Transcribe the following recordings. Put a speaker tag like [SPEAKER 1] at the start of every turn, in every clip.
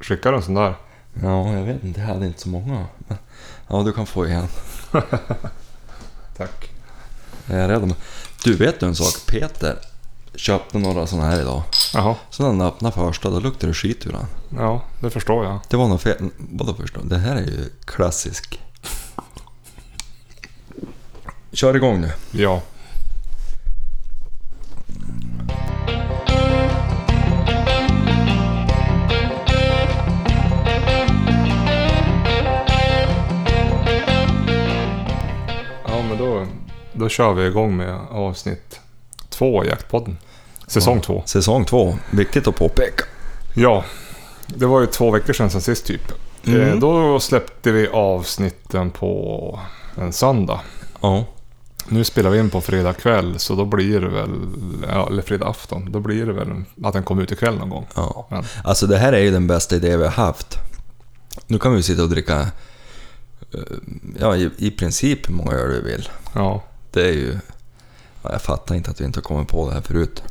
[SPEAKER 1] skickar en sån där?
[SPEAKER 2] Ja, jag vet inte. Jag hade inte så många. Men, ja, du kan få igen.
[SPEAKER 1] Tack.
[SPEAKER 2] Jag är rädd om Du, vet du en sak? Peter köpte några sådana här idag.
[SPEAKER 1] Jaha,
[SPEAKER 2] Så när han öppnade första, då luktade det skit ur den.
[SPEAKER 1] ja det förstår jag.
[SPEAKER 2] Det var något fel. Vadå förstå? Det här är ju klassisk. Kör igång nu.
[SPEAKER 1] Ja. Ja, men då, då kör vi igång med avsnitt två i Jaktpodden. Säsong två.
[SPEAKER 2] Säsong två. Viktigt att påpeka.
[SPEAKER 1] Ja, det var ju två veckor sedan sen sist typ.
[SPEAKER 2] Mm.
[SPEAKER 1] Eh, Då släppte vi avsnitten på en söndag.
[SPEAKER 2] Ja.
[SPEAKER 1] Nu spelar vi in på fredag kväll, så då blir det väl... Ja, eller fredag afton. Då blir det väl att den kommer ut ikväll någon gång.
[SPEAKER 2] ja.
[SPEAKER 1] Men,
[SPEAKER 2] Alltså det här är ju den bästa idé vi har haft. Nu kan vi ju sitta och dricka eh, ja, i, i princip hur många öl vi vill.
[SPEAKER 1] ja.
[SPEAKER 2] Det är ju... Ja, jag fattar inte att vi inte har kommit på det här förut.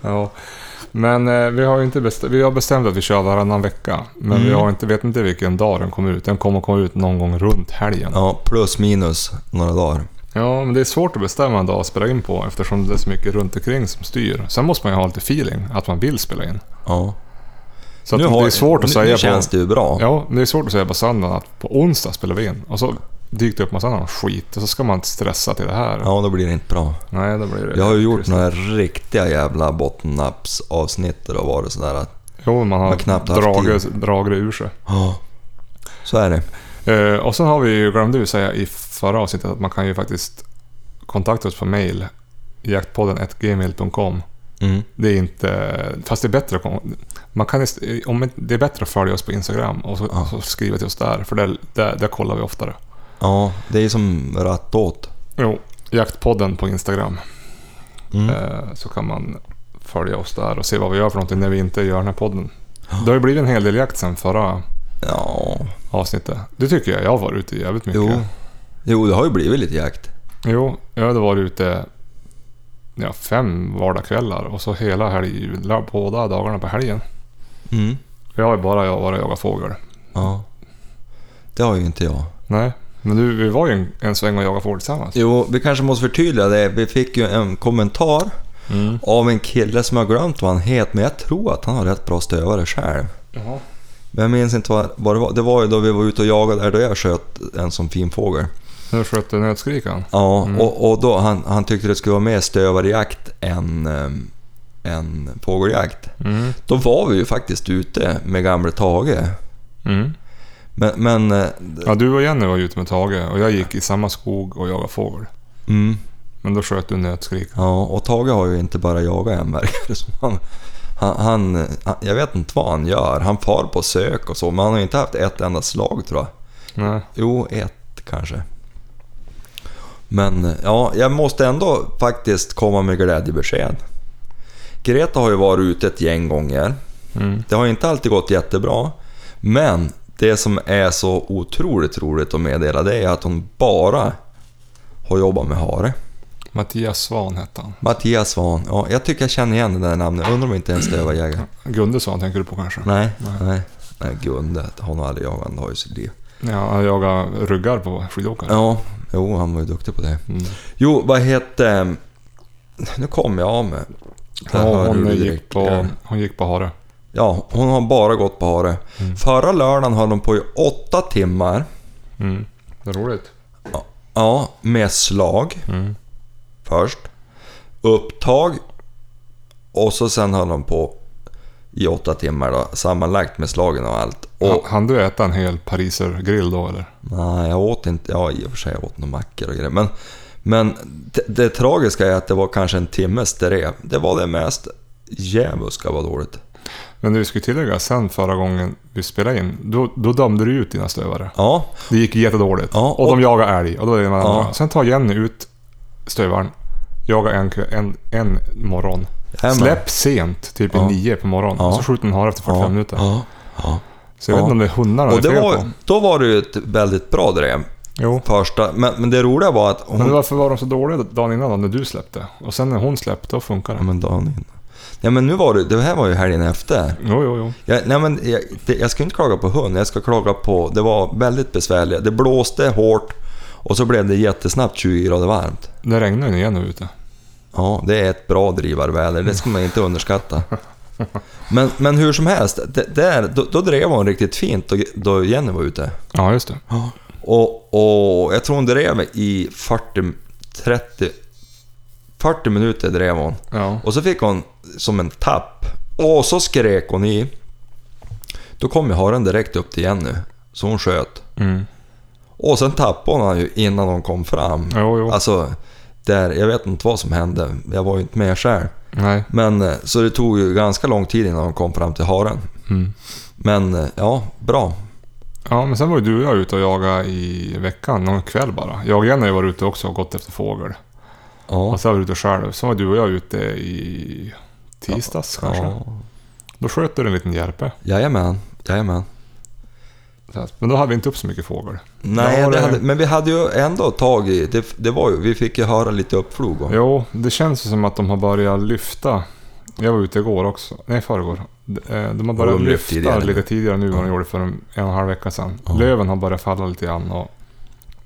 [SPEAKER 1] ja. Men eh, vi har ju inte bestämt... Vi har bestämt att vi kör varannan vecka. Men vi
[SPEAKER 2] Mm.
[SPEAKER 1] har inte, vet inte vilken dag den kommer ut. Den kommer att komma ut någon gång runt helgen. Ja.
[SPEAKER 2] Ja, plus minus några dagar.
[SPEAKER 1] men det är svårt att bestämma en dag att spela in på eftersom det är så mycket runt omkring som styr. Sen måste man ju ha lite feeling, att man vill spela in.
[SPEAKER 2] Ja.
[SPEAKER 1] Så att det är svårt att
[SPEAKER 2] nu,
[SPEAKER 1] säga
[SPEAKER 2] Nu känns
[SPEAKER 1] på...
[SPEAKER 2] det ju bra.
[SPEAKER 1] Ja, men det är svårt att säga på söndagen att på onsdag spelar vi in. Och så dyker det upp massa annan skit och så ska man inte stressa till det här.
[SPEAKER 2] Ja, då blir det inte bra.
[SPEAKER 1] Nej, då blir det...
[SPEAKER 2] Jag har ju gjort
[SPEAKER 1] Just det.
[SPEAKER 2] några riktiga jävla bottennappsavsnitt där det har varit sådär att...
[SPEAKER 1] Jo, man har
[SPEAKER 2] har knappt haft
[SPEAKER 1] dragit, dragit det ur sig.
[SPEAKER 2] Ja, så är det.
[SPEAKER 1] Eh, och sen har vi ju, glömde vi säga i förra avsnittet, att man kan ju faktiskt kontakta oss på mail. Jaktpodden gmail.com.
[SPEAKER 2] Mm.
[SPEAKER 1] Det är inte... Fast det är bättre att... kom- Man kan, ist- om, inte- det är bättre att följa oss på Instagram och så,
[SPEAKER 2] Ja.
[SPEAKER 1] så skriva till oss där. För där, där, där kollar vi oftare.
[SPEAKER 2] Ja, det är ju som rattåt.
[SPEAKER 1] Jo, Jaktpodden på Instagram.
[SPEAKER 2] Mm.
[SPEAKER 1] Eh, Så kan man följa oss där och se vad vi gör för någonting när vi inte gör den här podden. Det har ju blivit en hel del jakt sen förra
[SPEAKER 2] Ja,
[SPEAKER 1] avsnittet. Det tycker jag. Jag har varit ute jävligt mycket.
[SPEAKER 2] jo. Jo, det har ju blivit lite jakt.
[SPEAKER 1] Jo, jag hade varit ute ja, fem vardagskvällar och så hela helgen, båda dagarna på helgen.
[SPEAKER 2] Mm.
[SPEAKER 1] Jag har ju bara jag varit och jagat fågel.
[SPEAKER 2] Ja. Det har ju inte jag.
[SPEAKER 1] Nej, men du, vi var ju en, en sväng och jagade fågel tillsammans.
[SPEAKER 2] Jo, vi kanske måste förtydliga det. Vi fick ju en kommentar
[SPEAKER 1] Mm.
[SPEAKER 2] av en kille som jag glömt vad han heter, men jag tror att han har rätt bra stövare själv.
[SPEAKER 1] Jaha.
[SPEAKER 2] Men jag minns inte vad, vad det var. Det var ju då vi var ute och jagade där då jag sköt en sån fin fågel.
[SPEAKER 1] Nu sköt du nötskrikan.
[SPEAKER 2] Ja, och, och då han, han tyckte det skulle vara mer stövarjakt än, ehm, än fågeljakt.
[SPEAKER 1] Mm.
[SPEAKER 2] Då var vi ju faktiskt ute med gamle Tage.
[SPEAKER 1] Mm.
[SPEAKER 2] Men, men eh,
[SPEAKER 1] Ja, du och Jenny var ju ute med Tage och jag gick i samma skog och jagade fågel.
[SPEAKER 2] mm,
[SPEAKER 1] Men då sköt du nötskrikan.
[SPEAKER 2] ja, och Tage har ju inte bara jagat än verkar det som. han, han, han, han- Jag vet inte vad han gör. Han far på sök och så, men han har ju inte haft ett enda slag tror jag.
[SPEAKER 1] Nej.
[SPEAKER 2] Jo, ett kanske. Men eh, ja, jag måste ändå faktiskt komma med glädjebesked. Greta har ju varit ute ett gäng gånger.
[SPEAKER 1] Mm.
[SPEAKER 2] Det har inte alltid gått jättebra. Men det som är så otroligt roligt att meddela det är att hon bara har jobbat med hare.
[SPEAKER 1] Mattias Svan hette han.
[SPEAKER 2] Mattias Svahn. Ja, jag tycker jag känner igen det där namnet. Undrar om inte ens det var jägare.
[SPEAKER 1] Gunde Svan tänker du på kanske?
[SPEAKER 2] Nej, nej. Nej, Gunde. Hon har aldrig jagat. Han har ju sitt liv.
[SPEAKER 1] Ja, han jagade ryggar på skidåkare.
[SPEAKER 2] Ja, jo, han var ju duktig på det.
[SPEAKER 1] Mm.
[SPEAKER 2] Jo, vad hette... Nu kom jag av mig. Där
[SPEAKER 1] Ja,
[SPEAKER 2] hör du
[SPEAKER 1] hon,
[SPEAKER 2] det
[SPEAKER 1] gick
[SPEAKER 2] direkt.
[SPEAKER 1] på, hon gick på hare.
[SPEAKER 2] Ja, hon har bara gått på hare. Förra lördagen höll hon på i åtta timmar.
[SPEAKER 1] Mm. Det är roligt.
[SPEAKER 2] Ja, med slag
[SPEAKER 1] Mm.
[SPEAKER 2] först. Upptag. Och så sen höll hon på i åtta timmar då, sammanlagt med slagen och allt. Och,
[SPEAKER 1] Han, hann du äta en hel parisergrill då eller?
[SPEAKER 2] Nej, jag åt inte... Ja, i och för sig jag åt några mackor och grejer. Men, men det, det tragiska är att det var kanske en timmes drev. Det var det mest djävulska vad dåligt.
[SPEAKER 1] Men det vi skulle tillägga sen förra gången vi spelade in, då, då dömde du ut dina stövare.
[SPEAKER 2] Ja,
[SPEAKER 1] Det gick jättedåligt.
[SPEAKER 2] Ja,
[SPEAKER 1] och,
[SPEAKER 2] och-
[SPEAKER 1] de jagade älg och då är det
[SPEAKER 2] Ja.
[SPEAKER 1] ja. Sen tar Jenny ut stövaren, jagar en, kö- en, en morgon.
[SPEAKER 2] Jajamän.
[SPEAKER 1] Släpp sent, typ i
[SPEAKER 2] Ja.
[SPEAKER 1] nio på morgonen.
[SPEAKER 2] Ja.
[SPEAKER 1] Och så skjuter hon hare efter 45
[SPEAKER 2] ja,
[SPEAKER 1] minuter.
[SPEAKER 2] Ja, ja.
[SPEAKER 1] Så jag vet
[SPEAKER 2] Ja.
[SPEAKER 1] inte om det är hundarna
[SPEAKER 2] Och
[SPEAKER 1] det är
[SPEAKER 2] det
[SPEAKER 1] fel
[SPEAKER 2] var,
[SPEAKER 1] på.
[SPEAKER 2] då var det ju ett väldigt bra drev.
[SPEAKER 1] Jo.
[SPEAKER 2] Första, men, men det roliga var att hon...
[SPEAKER 1] Men varför var de så dåliga dagen innan då, när du släppte? Och sen när hon släppte, då funkar
[SPEAKER 2] Ja,
[SPEAKER 1] det.
[SPEAKER 2] men dagen innan. Ja, men nu var det, det här var ju helgen efter.
[SPEAKER 1] Jo, jo, jo.
[SPEAKER 2] Jag, nej, men jag, det, jag ska inte klaga på hund, jag ska klaga på... Det var väldigt besvärligt. Det blåste hårt och så blev det jättesnabbt 20 grader varmt.
[SPEAKER 1] Det regnar ju igen nu ute.
[SPEAKER 2] Ja, det är ett bra drivarväder, det ska man inte underskatta. Men, men hur som helst, det, där, då, då drev hon riktigt fint då, då Jenny var ute.
[SPEAKER 1] Ja, just det.
[SPEAKER 2] Och, och jag tror hon drev i 40, 30, 40 minuter drev hon.
[SPEAKER 1] Ja.
[SPEAKER 2] Och så fick hon som en tapp. Och så skrek hon i. Då kom ju haren direkt upp till Jenny. Så hon sköt.
[SPEAKER 1] Mm.
[SPEAKER 2] Och sen tappade hon han ju innan hon kom fram.
[SPEAKER 1] Jo, jo.
[SPEAKER 2] Alltså, där, jag vet inte vad som hände. Jag var ju inte med själv.
[SPEAKER 1] Nej.
[SPEAKER 2] Men, eh, så det tog ju ganska lång tid innan hon kom fram till haren.
[SPEAKER 1] Mm.
[SPEAKER 2] Men eh, ja, bra.
[SPEAKER 1] Ja, men sen var ju du och jag ute och jagade i veckan, någon kväll bara. Jag och Jenny var ute också och gått efter fågel.
[SPEAKER 2] Ja,
[SPEAKER 1] Och så var du ute själv. Sen var du och jag ute i tisdags kanske.
[SPEAKER 2] ja.
[SPEAKER 1] Då sköt du en liten järpe.
[SPEAKER 2] Jajamän, jajamän.
[SPEAKER 1] Så här, Men då hade vi inte upp så mycket fågel.
[SPEAKER 2] Nej,
[SPEAKER 1] Ja,
[SPEAKER 2] det
[SPEAKER 1] det-
[SPEAKER 2] hade, men vi hade ju ändå tag i... Det, det var ju, vi fick ju höra lite uppflugor.
[SPEAKER 1] Jo, det känns ju som att de har börjat lyfta. Jag var ute igår också. Nej, förrgår. De eh, de har
[SPEAKER 2] Ja,
[SPEAKER 1] börjat
[SPEAKER 2] de lyfter
[SPEAKER 1] lyfta
[SPEAKER 2] tidigare.
[SPEAKER 1] lite tidigare nu än de gjorde för en en och en halv vecka sedan.
[SPEAKER 2] Ja.
[SPEAKER 1] Löven har börjat falla lite grann och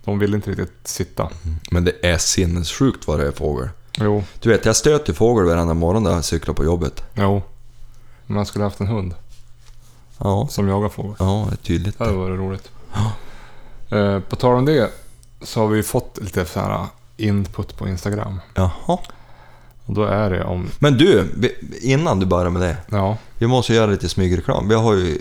[SPEAKER 1] de vill inte riktigt sitta.
[SPEAKER 2] Men det är sinnessjukt vad det är fågel.
[SPEAKER 1] Jo,
[SPEAKER 2] Du vet, jag stöter fågel varenda morgon när jag cyklar på jobbet.
[SPEAKER 1] jo. Man skulle haft en hund
[SPEAKER 2] Ja,
[SPEAKER 1] som jagar fågel.
[SPEAKER 2] ja det är tydligt.
[SPEAKER 1] Det hade varit roligt. Eh, På tal om det så har vi fått lite så här eh, input på Instagram.
[SPEAKER 2] Jaha.
[SPEAKER 1] Och då är det om...
[SPEAKER 2] Men du, vi- innan du börjar med det.
[SPEAKER 1] Ja,
[SPEAKER 2] Vi måste göra lite smygreklam. Vi har ju...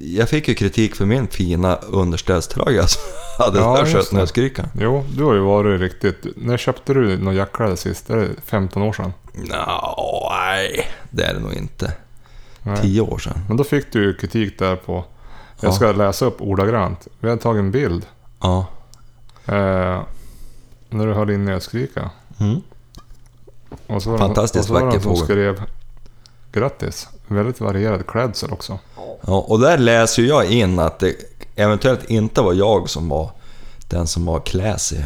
[SPEAKER 2] Jag fick ju kritik för min fina underställströja som jag hade
[SPEAKER 1] Ja,
[SPEAKER 2] ja,
[SPEAKER 1] just det.
[SPEAKER 2] köttnötskrykan.
[SPEAKER 1] jo, du har ju varit riktigt... När köpte du några jackkläder sist? Är det 15 år sedan?
[SPEAKER 2] Nå, nej, det är det nog inte.
[SPEAKER 1] Nej.
[SPEAKER 2] Tio år sedan.
[SPEAKER 1] Men då fick du ju kritik där på...
[SPEAKER 2] Ja.
[SPEAKER 1] Jag ska läsa upp ordagrant. Vi hade tagit en bild
[SPEAKER 2] Ja.
[SPEAKER 1] eh, när du höll in nötskrikan.
[SPEAKER 2] Mm.
[SPEAKER 1] Och så var det någon-
[SPEAKER 2] Fantastiskt
[SPEAKER 1] och så var det
[SPEAKER 2] vacker
[SPEAKER 1] någon som
[SPEAKER 2] fågel.
[SPEAKER 1] skrev grattis. Väldigt varierad klädsel också.
[SPEAKER 2] Ja, och där läser ju jag in att det eventuellt inte var jag som var den som var classy.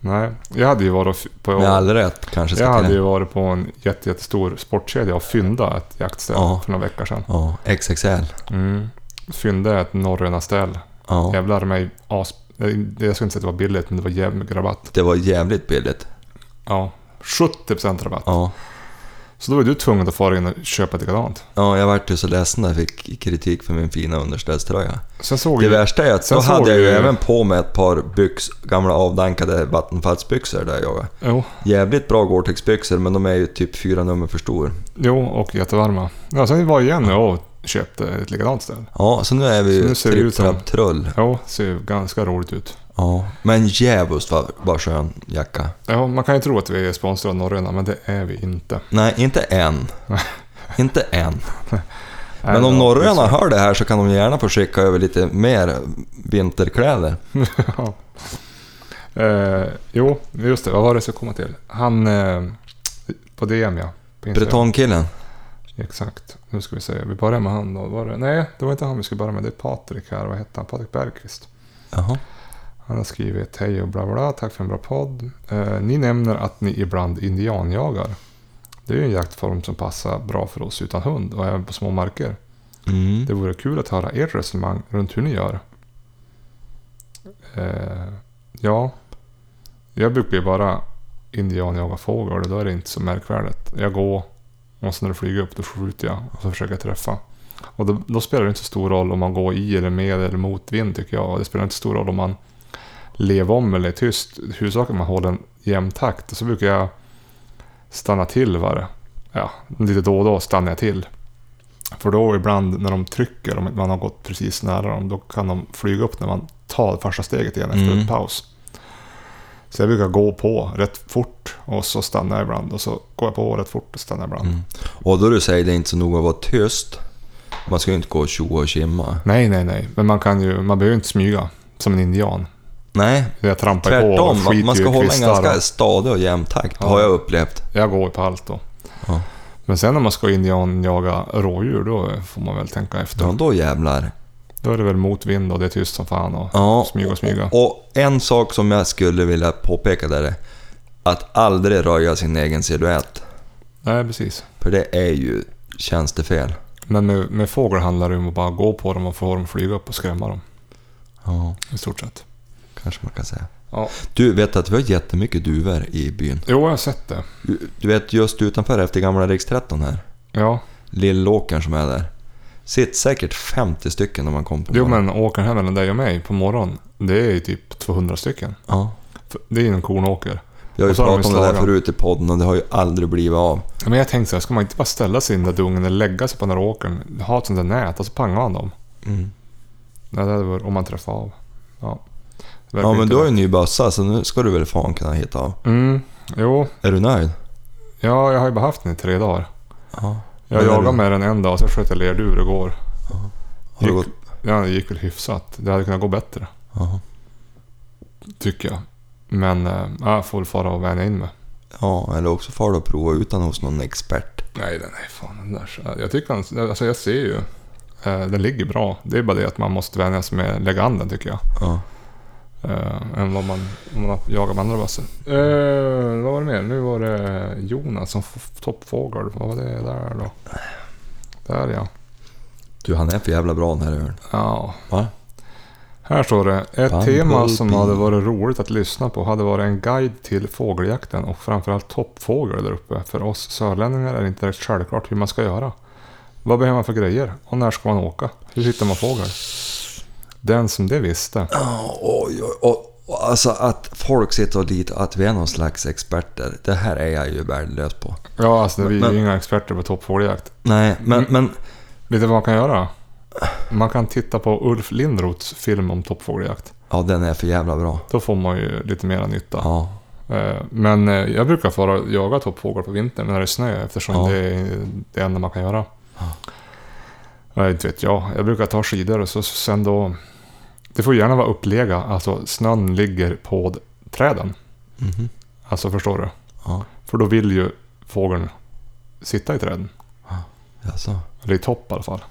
[SPEAKER 1] Nej, jag hade ju varit och f- på...
[SPEAKER 2] Med all rätt kanske
[SPEAKER 1] Jag
[SPEAKER 2] ska
[SPEAKER 1] hade
[SPEAKER 2] till
[SPEAKER 1] ju varit på en jätte, jättestor sportkedja och fyndat ett jaktställ
[SPEAKER 2] Ja.
[SPEAKER 1] för några veckor sedan.
[SPEAKER 2] Ja, XXL.
[SPEAKER 1] Mm. Fyndade ett norröna ställ.
[SPEAKER 2] Ja,
[SPEAKER 1] Jävlar mig as... Jag- Jag skulle inte säga att det var billigt, men det var jävligt mycket rabatt.
[SPEAKER 2] det var jävligt billigt.
[SPEAKER 1] Ja, 70% rabatt.
[SPEAKER 2] Ja,
[SPEAKER 1] Så då var du tvungen att fara in och köpa ett likadant.
[SPEAKER 2] ja jag vart ju så ledsen när jag fick kritik för min fina underställströja.
[SPEAKER 1] Sen såg
[SPEAKER 2] Det
[SPEAKER 1] jag...
[SPEAKER 2] värsta är att
[SPEAKER 1] Sen
[SPEAKER 2] då
[SPEAKER 1] såg
[SPEAKER 2] hade jag ju
[SPEAKER 1] vi-
[SPEAKER 2] även på mig ett par byx, gamla avdankade vattenfallsbyxor där jag var.
[SPEAKER 1] Jo,
[SPEAKER 2] Jävligt bra Gore-Tex-byxor men de är ju typ fyra nummer för stor.
[SPEAKER 1] jo, och jättevarma. Ja, sen var jag igen och köpte ett likadant ställ.
[SPEAKER 2] Ja, så nu är vi
[SPEAKER 1] Så
[SPEAKER 2] ju
[SPEAKER 1] nu ser det
[SPEAKER 2] tripp,
[SPEAKER 1] ut som-
[SPEAKER 2] trapp, trull.
[SPEAKER 1] Jo, ser ju ganska roligt ut.
[SPEAKER 2] Ja. Men djävulskt vad, vad skön jacka.
[SPEAKER 1] Ja, man kan ju tro att vi är sponsrade av Norröna, men det är vi inte.
[SPEAKER 2] Nej, inte än. inte än. Men
[SPEAKER 1] Nej,
[SPEAKER 2] om
[SPEAKER 1] ja,
[SPEAKER 2] norröna hör det här så kan de gärna få skicka över lite mer vinterkläder.
[SPEAKER 1] Ja. Eh, jo, just det. Vad var det jag skulle komma till? Han... Eh, på DM ja. På Instagram.
[SPEAKER 2] Bretonkillen.
[SPEAKER 1] Exakt. Nu ska vi se. Vi börjar med han då. Var det? Nej, det var inte han vi skulle börja med. Det är Patrik här. Vad hette han? Patrik Bergqvist.
[SPEAKER 2] Jaha.
[SPEAKER 1] Han har skrivit hej och bla bla, bla. Tack för en bra podd. Eh, ni nämner att ni ibland indianjagar. Det är ju en jaktform som passar bra för oss utan hund och även på små marker.
[SPEAKER 2] Mm.
[SPEAKER 1] Det vore kul att höra ert resonemang runt hur ni gör. Eh, ja, jag brukar ju bara indianjaga fågel och då är det inte så märkvärdigt. Jag går och sen när det flyger upp då skjuter jag och så försöker jag träffa. Och då, då spelar det inte så stor roll om man går i eller med eller mot vind tycker jag. Och det spelar inte så stor roll om man lever om eller är tyst. Huvudsaken är att man håller en jämn takt. Och så brukar jag stanna till varje... Ja, lite då och då stannar jag till. För då ibland när de trycker, om man har gått precis nära dem, då kan de flyga upp när man tar första steget igen efter
[SPEAKER 2] Mm.
[SPEAKER 1] en paus. Så jag brukar gå på rätt fort och så stannar jag ibland och så går jag på rätt fort och stannar ibland.
[SPEAKER 2] Mm. Och då du säger det är inte så noga att vara tyst. Man ska ju inte gå och tjoa och tjimma.
[SPEAKER 1] Nej, nej, nej. Men man kan ju, man behöver ju inte smyga som en indian.
[SPEAKER 2] Nej,
[SPEAKER 1] Jag trampar ju på och
[SPEAKER 2] tvärtom. Man-
[SPEAKER 1] skiter
[SPEAKER 2] Man ska
[SPEAKER 1] ju i
[SPEAKER 2] hålla en
[SPEAKER 1] kvistar
[SPEAKER 2] ganska
[SPEAKER 1] och-
[SPEAKER 2] stadig och jämn takt,
[SPEAKER 1] Ja.
[SPEAKER 2] har jag upplevt.
[SPEAKER 1] Jag går ju på allt då.
[SPEAKER 2] Ja.
[SPEAKER 1] Men sen när man ska indianjaga rådjur, då får man väl tänka efter.
[SPEAKER 2] Ja, då jävlar.
[SPEAKER 1] Då är det väl motvind och det är tyst som fan och
[SPEAKER 2] Ja,
[SPEAKER 1] smyga och smyga.
[SPEAKER 2] Och, och en sak som jag skulle vilja påpeka där är att aldrig röja sin egen silhuett.
[SPEAKER 1] Nej, precis.
[SPEAKER 2] För det är ju tjänstefel.
[SPEAKER 1] Men med, med fågel handlar det om att bara gå på dem och få dem att flyga upp och skrämma dem.
[SPEAKER 2] Ja,
[SPEAKER 1] I stort sett.
[SPEAKER 2] kanske man kan säga.
[SPEAKER 1] Ja.
[SPEAKER 2] Du, vet att vi har jättemycket duvor i byn.
[SPEAKER 1] Jo, jag har sett det.
[SPEAKER 2] Du- Du vet just utanför efter gamla riks 13 här.
[SPEAKER 1] Ja.
[SPEAKER 2] Lillåkern som är där. Sitt säkert 50 stycken när man kom på
[SPEAKER 1] Jo,
[SPEAKER 2] morgonen.
[SPEAKER 1] men åkern här mellan dig och mig på morgonen, det är ju typ 200 stycken.
[SPEAKER 2] Ja.
[SPEAKER 1] För Det är ju en kornåker.
[SPEAKER 2] Jag har ju
[SPEAKER 1] Och så har de
[SPEAKER 2] pratat om
[SPEAKER 1] ju
[SPEAKER 2] det där
[SPEAKER 1] slagan.
[SPEAKER 2] förut i podden och det har ju aldrig blivit av.
[SPEAKER 1] Men jag tänkte så här, ska man inte bara ställa sig i den där dungen och lägga sig på den där åkern, ha ett sånt där nät och så pangar man dem? Nej, det hade varit om man träffar av. Ja, Det verkar
[SPEAKER 2] Ja, men
[SPEAKER 1] inte
[SPEAKER 2] du har
[SPEAKER 1] det.
[SPEAKER 2] ju en ny bössa så nu ska du väl fan kunna hitta av.
[SPEAKER 1] Mm, jo,
[SPEAKER 2] Är du nöjd?
[SPEAKER 1] ja, jag har ju bara haft den i tre dagar.
[SPEAKER 2] Ja.
[SPEAKER 1] Jag
[SPEAKER 2] Men är
[SPEAKER 1] jagade
[SPEAKER 2] du-
[SPEAKER 1] med den en dag, sen sköt jag lerduvor igår.
[SPEAKER 2] Har du
[SPEAKER 1] Gick-
[SPEAKER 2] gått...
[SPEAKER 1] Ja, det gick väl hyfsat. Det hade kunnat gå bättre,
[SPEAKER 2] Ja.
[SPEAKER 1] tycker jag. Men eh, jag får väl fara och vänja in mig.
[SPEAKER 2] ja, eller också far du och prova utan hos någon expert.
[SPEAKER 1] Nej, den är fan den där. så- Jag tycker den, alltså jag ser ju. eh, Den ligger bra. Det är bara det att man måste vänja sig med att lägga an den tycker jag.
[SPEAKER 2] Ja.
[SPEAKER 1] Eh, än vad man, om man jagar med andra bössor. Eh, vad var det mer? Nu var det Jonas som f- toppfågel. Vad var det där då? Där ja.
[SPEAKER 2] Du, han är för jävla bra den här ölen.
[SPEAKER 1] Ja.
[SPEAKER 2] Va?
[SPEAKER 1] Här står det. Ett
[SPEAKER 2] Bumblebee.
[SPEAKER 1] tema som hade varit roligt att lyssna på hade varit en guide till fågeljakten och framförallt toppfågel där uppe. För oss sörlänningar är det inte direkt självklart hur man ska göra. Vad behöver man för grejer? Och när ska man åka? Hur hittar man fågel? Den som det visste.
[SPEAKER 2] Ja, oj, oj, oj. Alltså att folk sitter och litar att vi är någon slags experter. Det här är jag ju värdelös på.
[SPEAKER 1] Ja, alltså vi är
[SPEAKER 2] Men-
[SPEAKER 1] ju inga experter på toppfågeljakt.
[SPEAKER 2] Nej, men, men
[SPEAKER 1] Vet du vad man kan göra? Man kan titta på Ulf Lindroths film om toppfågeljakt.
[SPEAKER 2] ja, den är för jävla bra.
[SPEAKER 1] Då får man ju lite mera nytta.
[SPEAKER 2] Ja,
[SPEAKER 1] Eh, Men eh, jag brukar fara och jaga toppfågel på vintern när det är snö eftersom
[SPEAKER 2] Ja.
[SPEAKER 1] det är det enda man kan göra. Ja. Inte vet jag. Jag brukar ta skidor och så sen då... Det får gärna vara upplega, alltså snön ligger på d- träden.
[SPEAKER 2] Mhm.
[SPEAKER 1] Alltså förstår du?
[SPEAKER 2] ja.
[SPEAKER 1] För då vill ju fågeln sitta i träden.
[SPEAKER 2] Jaså.
[SPEAKER 1] Eller i topp i alla fall.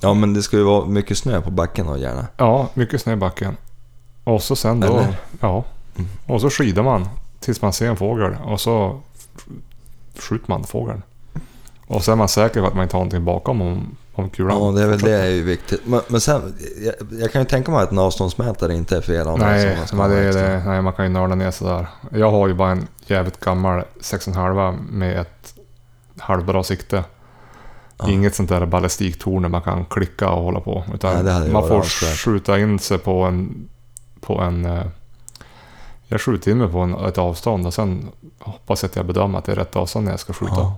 [SPEAKER 2] Ja, men det ska ju vara mycket snö på backen då gärna.
[SPEAKER 1] Ja, mycket snö i backen. Och så sen då...
[SPEAKER 2] Eller?
[SPEAKER 1] Ja.
[SPEAKER 2] Mm.
[SPEAKER 1] Och så skidar man tills man ser en fågel och så skjuter man fågeln. Och så är man säker på att man inte har någonting bakom om, om kulan.
[SPEAKER 2] Ja, det är väl det
[SPEAKER 1] fortsätter.
[SPEAKER 2] är ju viktigt. Men, men sen, jag, jag kan ju tänka mig att en avståndsmätare inte är fel. om är
[SPEAKER 1] Nej,
[SPEAKER 2] sådana ska
[SPEAKER 1] men det
[SPEAKER 2] vara
[SPEAKER 1] är
[SPEAKER 2] extra.
[SPEAKER 1] det. Nej, man kan ju nörda ner sig där. Jag har ju bara en jävligt gammal 6,5 med ett halvbra sikte.
[SPEAKER 2] Ja.
[SPEAKER 1] Inget sånt där ballistiktorn där man kan klicka och hålla på. Utan
[SPEAKER 2] Nej, det hade ju
[SPEAKER 1] man
[SPEAKER 2] varit
[SPEAKER 1] får
[SPEAKER 2] önskvärt.
[SPEAKER 1] skjuta in sig på en... På en eh, jag skjuter in mig på en, ett avstånd och sen hoppas jag att jag bedömer att det är rätt avstånd när jag ska skjuta.
[SPEAKER 2] Ja.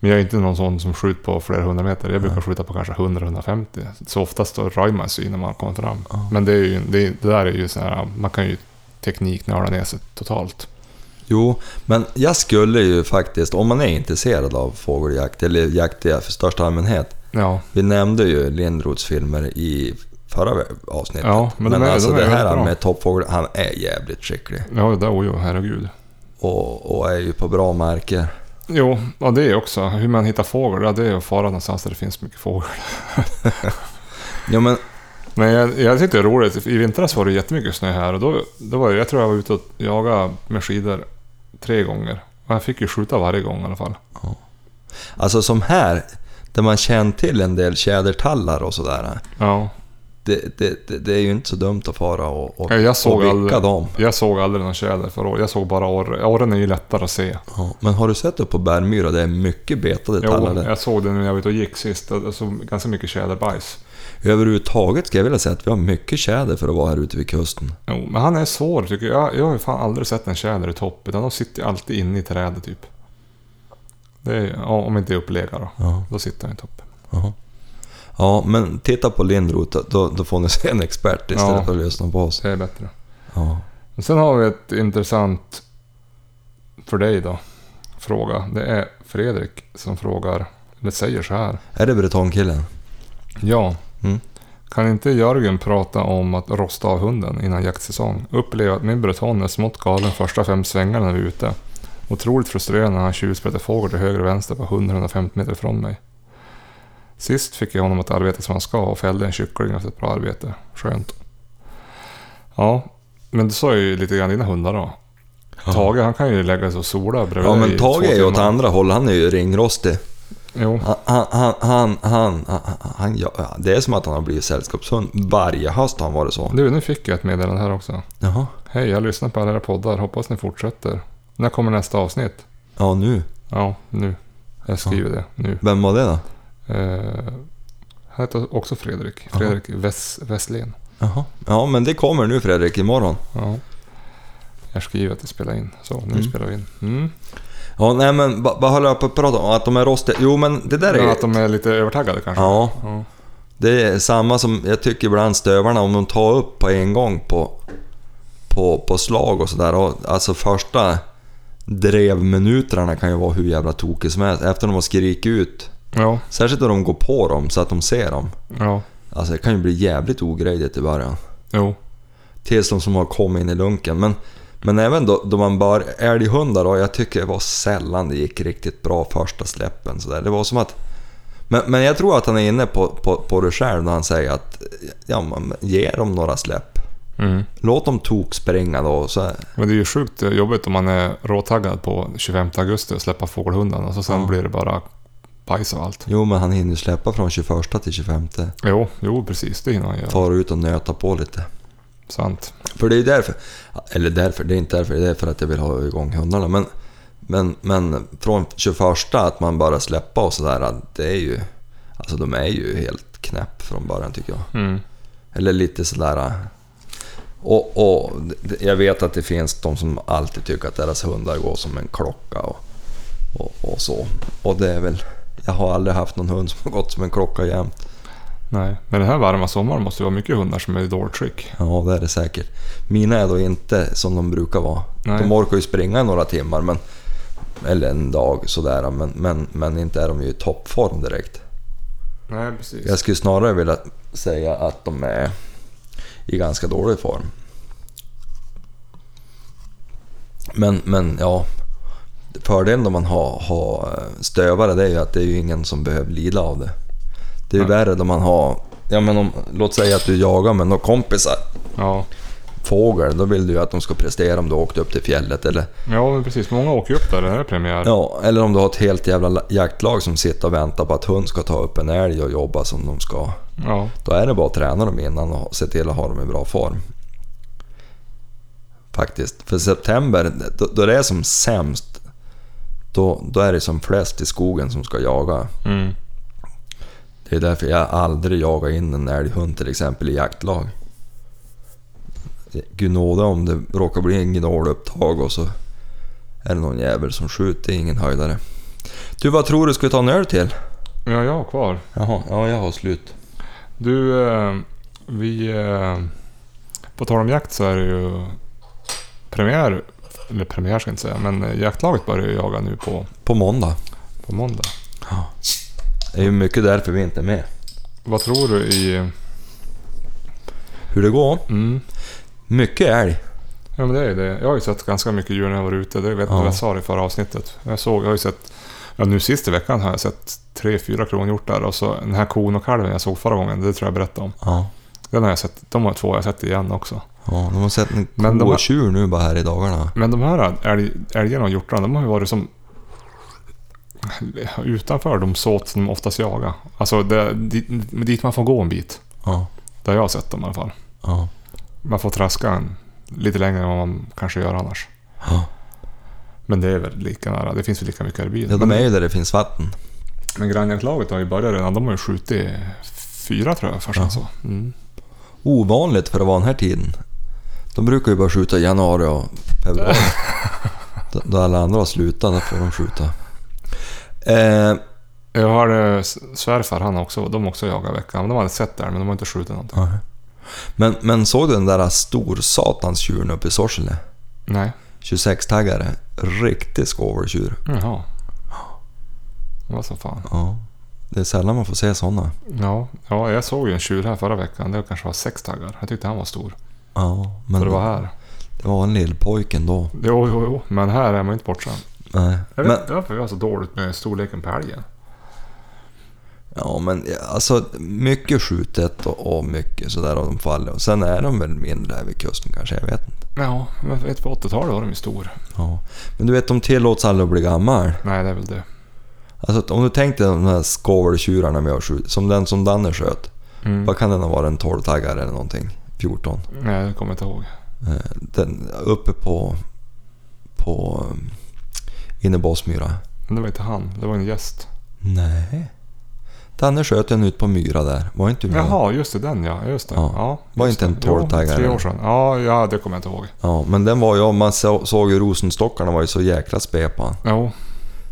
[SPEAKER 1] Men jag är inte någon sån som skjuter på flera hundra meter. Jag brukar
[SPEAKER 2] Nej.
[SPEAKER 1] skjuta på kanske 100-150. Så oftast då rör man sig när man kommer fram.
[SPEAKER 2] Ja.
[SPEAKER 1] Men det, är ju, det, är- det där är ju så här, man kan ju tekniknörda ner sig totalt.
[SPEAKER 2] Jo, men jag skulle ju faktiskt, om man är intresserad av fågeljakt, eller jakt i största allmänhet.
[SPEAKER 1] Ja,
[SPEAKER 2] Vi nämnde ju Lindroths filmer i förra avsnittet.
[SPEAKER 1] Ja, men de är-
[SPEAKER 2] alltså
[SPEAKER 1] de är
[SPEAKER 2] det här
[SPEAKER 1] väldigt bra.
[SPEAKER 2] med toppfågel, han är jävligt skicklig.
[SPEAKER 1] ja det där, oj, oj, herregud.
[SPEAKER 2] Och, och är ju på bra marker.
[SPEAKER 1] Jo, ja, det är också. Hur man hittar fågel, ja, det är att fara någonstans där det finns mycket fågel.
[SPEAKER 2] Ja, men
[SPEAKER 1] Men jag, jag tyckte det var roligt. I vintras var det jättemycket snö här och då, då var jag, jag tror jag var ute och jagade med skidor tre gånger. Och jag fick ju skjuta varje gång i alla fall.
[SPEAKER 2] alltså som här, där man känner till en del tjädertallar och sådär.
[SPEAKER 1] Ja.
[SPEAKER 2] Det, det, det, det är ju inte så dumt att fara och, och,
[SPEAKER 1] Ja, jag såg
[SPEAKER 2] och vicka
[SPEAKER 1] aldrig-
[SPEAKER 2] dem.
[SPEAKER 1] Jag såg aldrig någon tjäder förra året. Jag såg bara orre. Orren är ju lättare att se.
[SPEAKER 2] Ja, men har du sett upp på Bärmyra? Det är mycket betade
[SPEAKER 1] Jo,
[SPEAKER 2] tallar där.
[SPEAKER 1] jag såg det när jag var ute och gick sist. Alltså, ganska mycket tjäderbajs.
[SPEAKER 2] Överhuvudtaget ska jag vilja säga att vi har mycket tjäder för att vara här ute vid kusten.
[SPEAKER 1] Jo, men han är svår tycker jag. Jag har ju fan aldrig sett en tjäder i topp. Utan de sitter ju alltid inne i trädet typ. Det är, ja, om inte det är upplega då.
[SPEAKER 2] Ja,
[SPEAKER 1] Då sitter han i topp.
[SPEAKER 2] ja. ja men titta på Lindroth, då, då får ni se en expert istället
[SPEAKER 1] Ja.
[SPEAKER 2] för att lyssna på oss.
[SPEAKER 1] Så det är bättre.
[SPEAKER 2] Ja.
[SPEAKER 1] Men sen har vi ett intressant för dig då. Fråga. Det är Fredrik som frågar. Eller säger så här.
[SPEAKER 2] Är det Bretongkillen?
[SPEAKER 1] Ja.
[SPEAKER 2] Mm.
[SPEAKER 1] Kan inte Jörgen prata om att rosta av hunden innan jaktsäsong? Upplever att min breton är smått galen första fem svängarna när vi är ute. Otroligt frustrerande när han tjuvspetar fågel till höger och vänster på 100-150 meter från mig. Sist fick jag honom att arbeta som han ska och fällde en kyckling efter ett bra arbete. Skönt. Ja, men du sa ju lite grann dina hundar då. Tage han kan ju lägga sig och sola bredvid
[SPEAKER 2] Ja
[SPEAKER 1] i
[SPEAKER 2] men Tage
[SPEAKER 1] två
[SPEAKER 2] är ju åt
[SPEAKER 1] timmar.
[SPEAKER 2] andra håll, han är ju ringrostig.
[SPEAKER 1] Jo,
[SPEAKER 2] Han, han, han, han, han, han, han ja, ja, det är som att han har blivit sällskapshund. Varje höst har han varit så.
[SPEAKER 1] du nu fick jag ett meddelande här också.
[SPEAKER 2] Jaha.
[SPEAKER 1] Hej, jag lyssnar på alla era poddar. Hoppas ni fortsätter. När kommer nästa avsnitt?
[SPEAKER 2] Ja nu.
[SPEAKER 1] Ja, nu. Jag skriver det nu.
[SPEAKER 2] Vem var det då?
[SPEAKER 1] Eh, han heter också Fredrik. Fredrik Wess, Wesslén.
[SPEAKER 2] Jaha. Ja men det kommer nu Fredrik, imorgon.
[SPEAKER 1] Ja. Jag skriver att det spelar in. Så, nu
[SPEAKER 2] Mm.
[SPEAKER 1] spelar vi in. Mm.
[SPEAKER 2] Ja nej men vad vad höll jag på att prata om? Att de är rostiga? Jo men det där är
[SPEAKER 1] Men
[SPEAKER 2] ju...
[SPEAKER 1] att de är lite övertaggade kanske?
[SPEAKER 2] Ja.
[SPEAKER 1] Ja.
[SPEAKER 2] Det är samma som jag tycker ibland stövarna, om de tar upp på en gång på, på, på slag och sådär. och Alltså första drevminuterna kan ju vara hur jävla tokig som helst. Efter de har skrikit ut.
[SPEAKER 1] Ja.
[SPEAKER 2] Särskilt när de går på dem så att de ser dem.
[SPEAKER 1] ja.
[SPEAKER 2] Alltså det kan ju bli jävligt ogrejdigt i början.
[SPEAKER 1] Jo.
[SPEAKER 2] Tills de som har kommit in i lunken. Men, men även då, då man bör älghundar då, jag tycker det var sällan det gick riktigt bra första släppen. Så där. Det var som att... Men, men jag tror att han är inne på, på, på det själv när han säger att ja, man, ge dem några släpp.
[SPEAKER 1] Mm.
[SPEAKER 2] Låt dem tokspringa då. Så,
[SPEAKER 1] Men det är ju sjukt jobbigt om man är råtaggad på 25 augusti och släppa fågelhundarna. Så sen
[SPEAKER 2] Ja.
[SPEAKER 1] blir det bara bajs och allt.
[SPEAKER 2] jo men han hinner ju släppa från 21 till 25.
[SPEAKER 1] Jo, jo precis. Det hinner han göra.
[SPEAKER 2] Far ut och nöta på lite.
[SPEAKER 1] Sant.
[SPEAKER 2] För det är ju därför, eller därför, det är inte därför, det är för att jag vill ha igång hundarna. Men, men, men från 21 att man bara släppa och sådär, att det är ju, alltså de är ju helt knäpp från början tycker jag.
[SPEAKER 1] Mm.
[SPEAKER 2] Eller lite sådär... Och, och det- jag vet att det finns de som alltid tycker att deras hundar går som en klocka och, och, och så. Och det är väl, jag har aldrig haft någon hund som har gått som en klocka jämt.
[SPEAKER 1] Nej, men den här varma sommaren måste ju vara mycket hundar som är i dåligt skick.
[SPEAKER 2] Ja, det är det säkert. Mina är då inte som de brukar vara.
[SPEAKER 1] Nej.
[SPEAKER 2] De orkar ju springa några timmar, men, eller en dag sådär, men, men, men inte är de ju i toppform direkt.
[SPEAKER 1] Nej, precis.
[SPEAKER 2] Jag skulle snarare vilja säga att de är i ganska dålig form. Men, men ja, fördelen om man har, har eh, stövare det är ju att det är ju ingen som behöver lida av det. Det är ju värre om man har, ja men om, låt säga att du jagar med några kompisar
[SPEAKER 1] Ja.
[SPEAKER 2] fågel, då vill du ju att de ska prestera om du åkte upp till fjället eller,
[SPEAKER 1] ja, men precis. Många åker ju upp där. Det här är premiär.
[SPEAKER 2] ja, eller om du har ett helt jävla la- jaktlag som sitter och väntar på att hund ska ta upp en älg och jobba som de ska.
[SPEAKER 1] Ja.
[SPEAKER 2] Då är det bara att träna dem innan och se till att ha dem i bra form. Faktiskt. För september, då, då det är som sämst, då, då är det som flest i skogen som ska jaga.
[SPEAKER 1] Mm.
[SPEAKER 2] Det är därför jag aldrig jagar in en älghund till exempel i jaktlag. Gud nåde om det råkar bli en gnålupptag och så är det någon jävel som skjuter, ingen höjdare. Du, vad tror du? Ska vi ta en öl till?
[SPEAKER 1] ja, jag har kvar.
[SPEAKER 2] Jaha, ja jag har slut.
[SPEAKER 1] Du, eh, vi... Eh, på tal om jakt så är det ju premiär. Eller premiär ska jag inte säga, men eh, jaktlaget börjar ju jaga nu på,
[SPEAKER 2] På måndag.
[SPEAKER 1] på måndag.
[SPEAKER 2] Det är ju mycket därför vi inte är med.
[SPEAKER 1] Vad tror du i...
[SPEAKER 2] Hur det går?
[SPEAKER 1] Mm.
[SPEAKER 2] Mycket älg.
[SPEAKER 1] Ja, men det är ju det. Jag har ju sett ganska mycket djur när jag var ute. Det vet du
[SPEAKER 2] Ja.
[SPEAKER 1] vad jag sa i förra avsnittet. Jag, såg, jag har ju sett... Ja, nu sist i veckan har jag sett tre, fyra kronhjortar. Och så den här kon och kalven jag såg förra gången, det tror jag jag berättade om.
[SPEAKER 2] Ja.
[SPEAKER 1] Den har jag sett. De har två jag har sett igen också.
[SPEAKER 2] ja de har sett en
[SPEAKER 1] Men de
[SPEAKER 2] ko
[SPEAKER 1] har-
[SPEAKER 2] och tjur nu bara här i dagarna.
[SPEAKER 1] Men de här älg, älgarna och hjortarna, de har ju varit som... Utanför de såt som de oftast jagar. Alltså det, dit, dit man får gå en bit.
[SPEAKER 2] Ja.
[SPEAKER 1] Där jag har sett dem i alla fall.
[SPEAKER 2] Ja.
[SPEAKER 1] Man får traska en, lite längre än vad man kanske gör annars.
[SPEAKER 2] Ja.
[SPEAKER 1] Men det är väl lika nära. Det finns väl lika mycket älgbil.
[SPEAKER 2] ja, de är ju där det finns vatten.
[SPEAKER 1] Men grannjaktlaget har ju börjat redan. De har ju skjutit fyra tror jag först
[SPEAKER 2] Ja.
[SPEAKER 1] alltså. Mm.
[SPEAKER 2] Ovanligt för att vara den här tiden. De brukar ju bara skjuta i januari och februari. Då- Då alla andra har slutat, då får de skjuta. Eh,
[SPEAKER 1] Jag har eh, s- svärfar, han har också, de har också jagat i veckan. Men de hade sett där, men de har inte skjutit någonting.
[SPEAKER 2] men, men såg du den där storsatans tjuren uppe i Sorsele?
[SPEAKER 1] Nej.
[SPEAKER 2] 26-taggare. Riktig skåveltjur.
[SPEAKER 1] Jaha. Vad som fan.
[SPEAKER 2] Ja. Det är sällan man får se sådana.
[SPEAKER 1] Ja, ja, jag såg ju en tjur här förra veckan. Det kanske var sex taggar. Jag tyckte han var stor.
[SPEAKER 2] Ja, men
[SPEAKER 1] För det var här.
[SPEAKER 2] det var en lillpojke ändå.
[SPEAKER 1] Jo, jo, jo. Men här är man ju inte bortskämd.
[SPEAKER 2] Nej.
[SPEAKER 1] Jag vet
[SPEAKER 2] Men,
[SPEAKER 1] inte varför vi har så dåligt med storleken på älgen.
[SPEAKER 2] Ja, men alltså mycket skjutet och, och mycket sådär och de faller. Och sen är de väl mindre här vid kusten kanske, jag vet inte.
[SPEAKER 1] Ja, men vet, på 80-talet var de ju stor.
[SPEAKER 2] Ja. Men du vet, de tillåts aldrig att bli gammal.
[SPEAKER 1] Nej, det är väl det.
[SPEAKER 2] Alltså att om du tänkte de här skoveltjurarna vi har skjutit, som den som Danne sköt.
[SPEAKER 1] Mm.
[SPEAKER 2] Vad kan den ha varit? En 12-taggare eller någonting? 14?
[SPEAKER 1] Nej, jag kommer inte ihåg.
[SPEAKER 2] Eh, Den uppe på... På... eh, Inne i Båsmyra.
[SPEAKER 1] Men det var inte han, det var en gäst.
[SPEAKER 2] Nej. Danne sköt en ut på Myra där. Var inte du med?
[SPEAKER 1] Jaha, just det, den ja. Just det.
[SPEAKER 2] Ja.
[SPEAKER 1] Ja.
[SPEAKER 2] Var
[SPEAKER 1] just
[SPEAKER 2] inte en
[SPEAKER 1] det. Jo,
[SPEAKER 2] 12-taggare.
[SPEAKER 1] Tre år sedan. Ja, ja, det kommer jag inte ihåg.
[SPEAKER 2] Ja, men den var ju... Man så- såg ju rosenstockarna var ju så jäkla spep han.
[SPEAKER 1] Jo.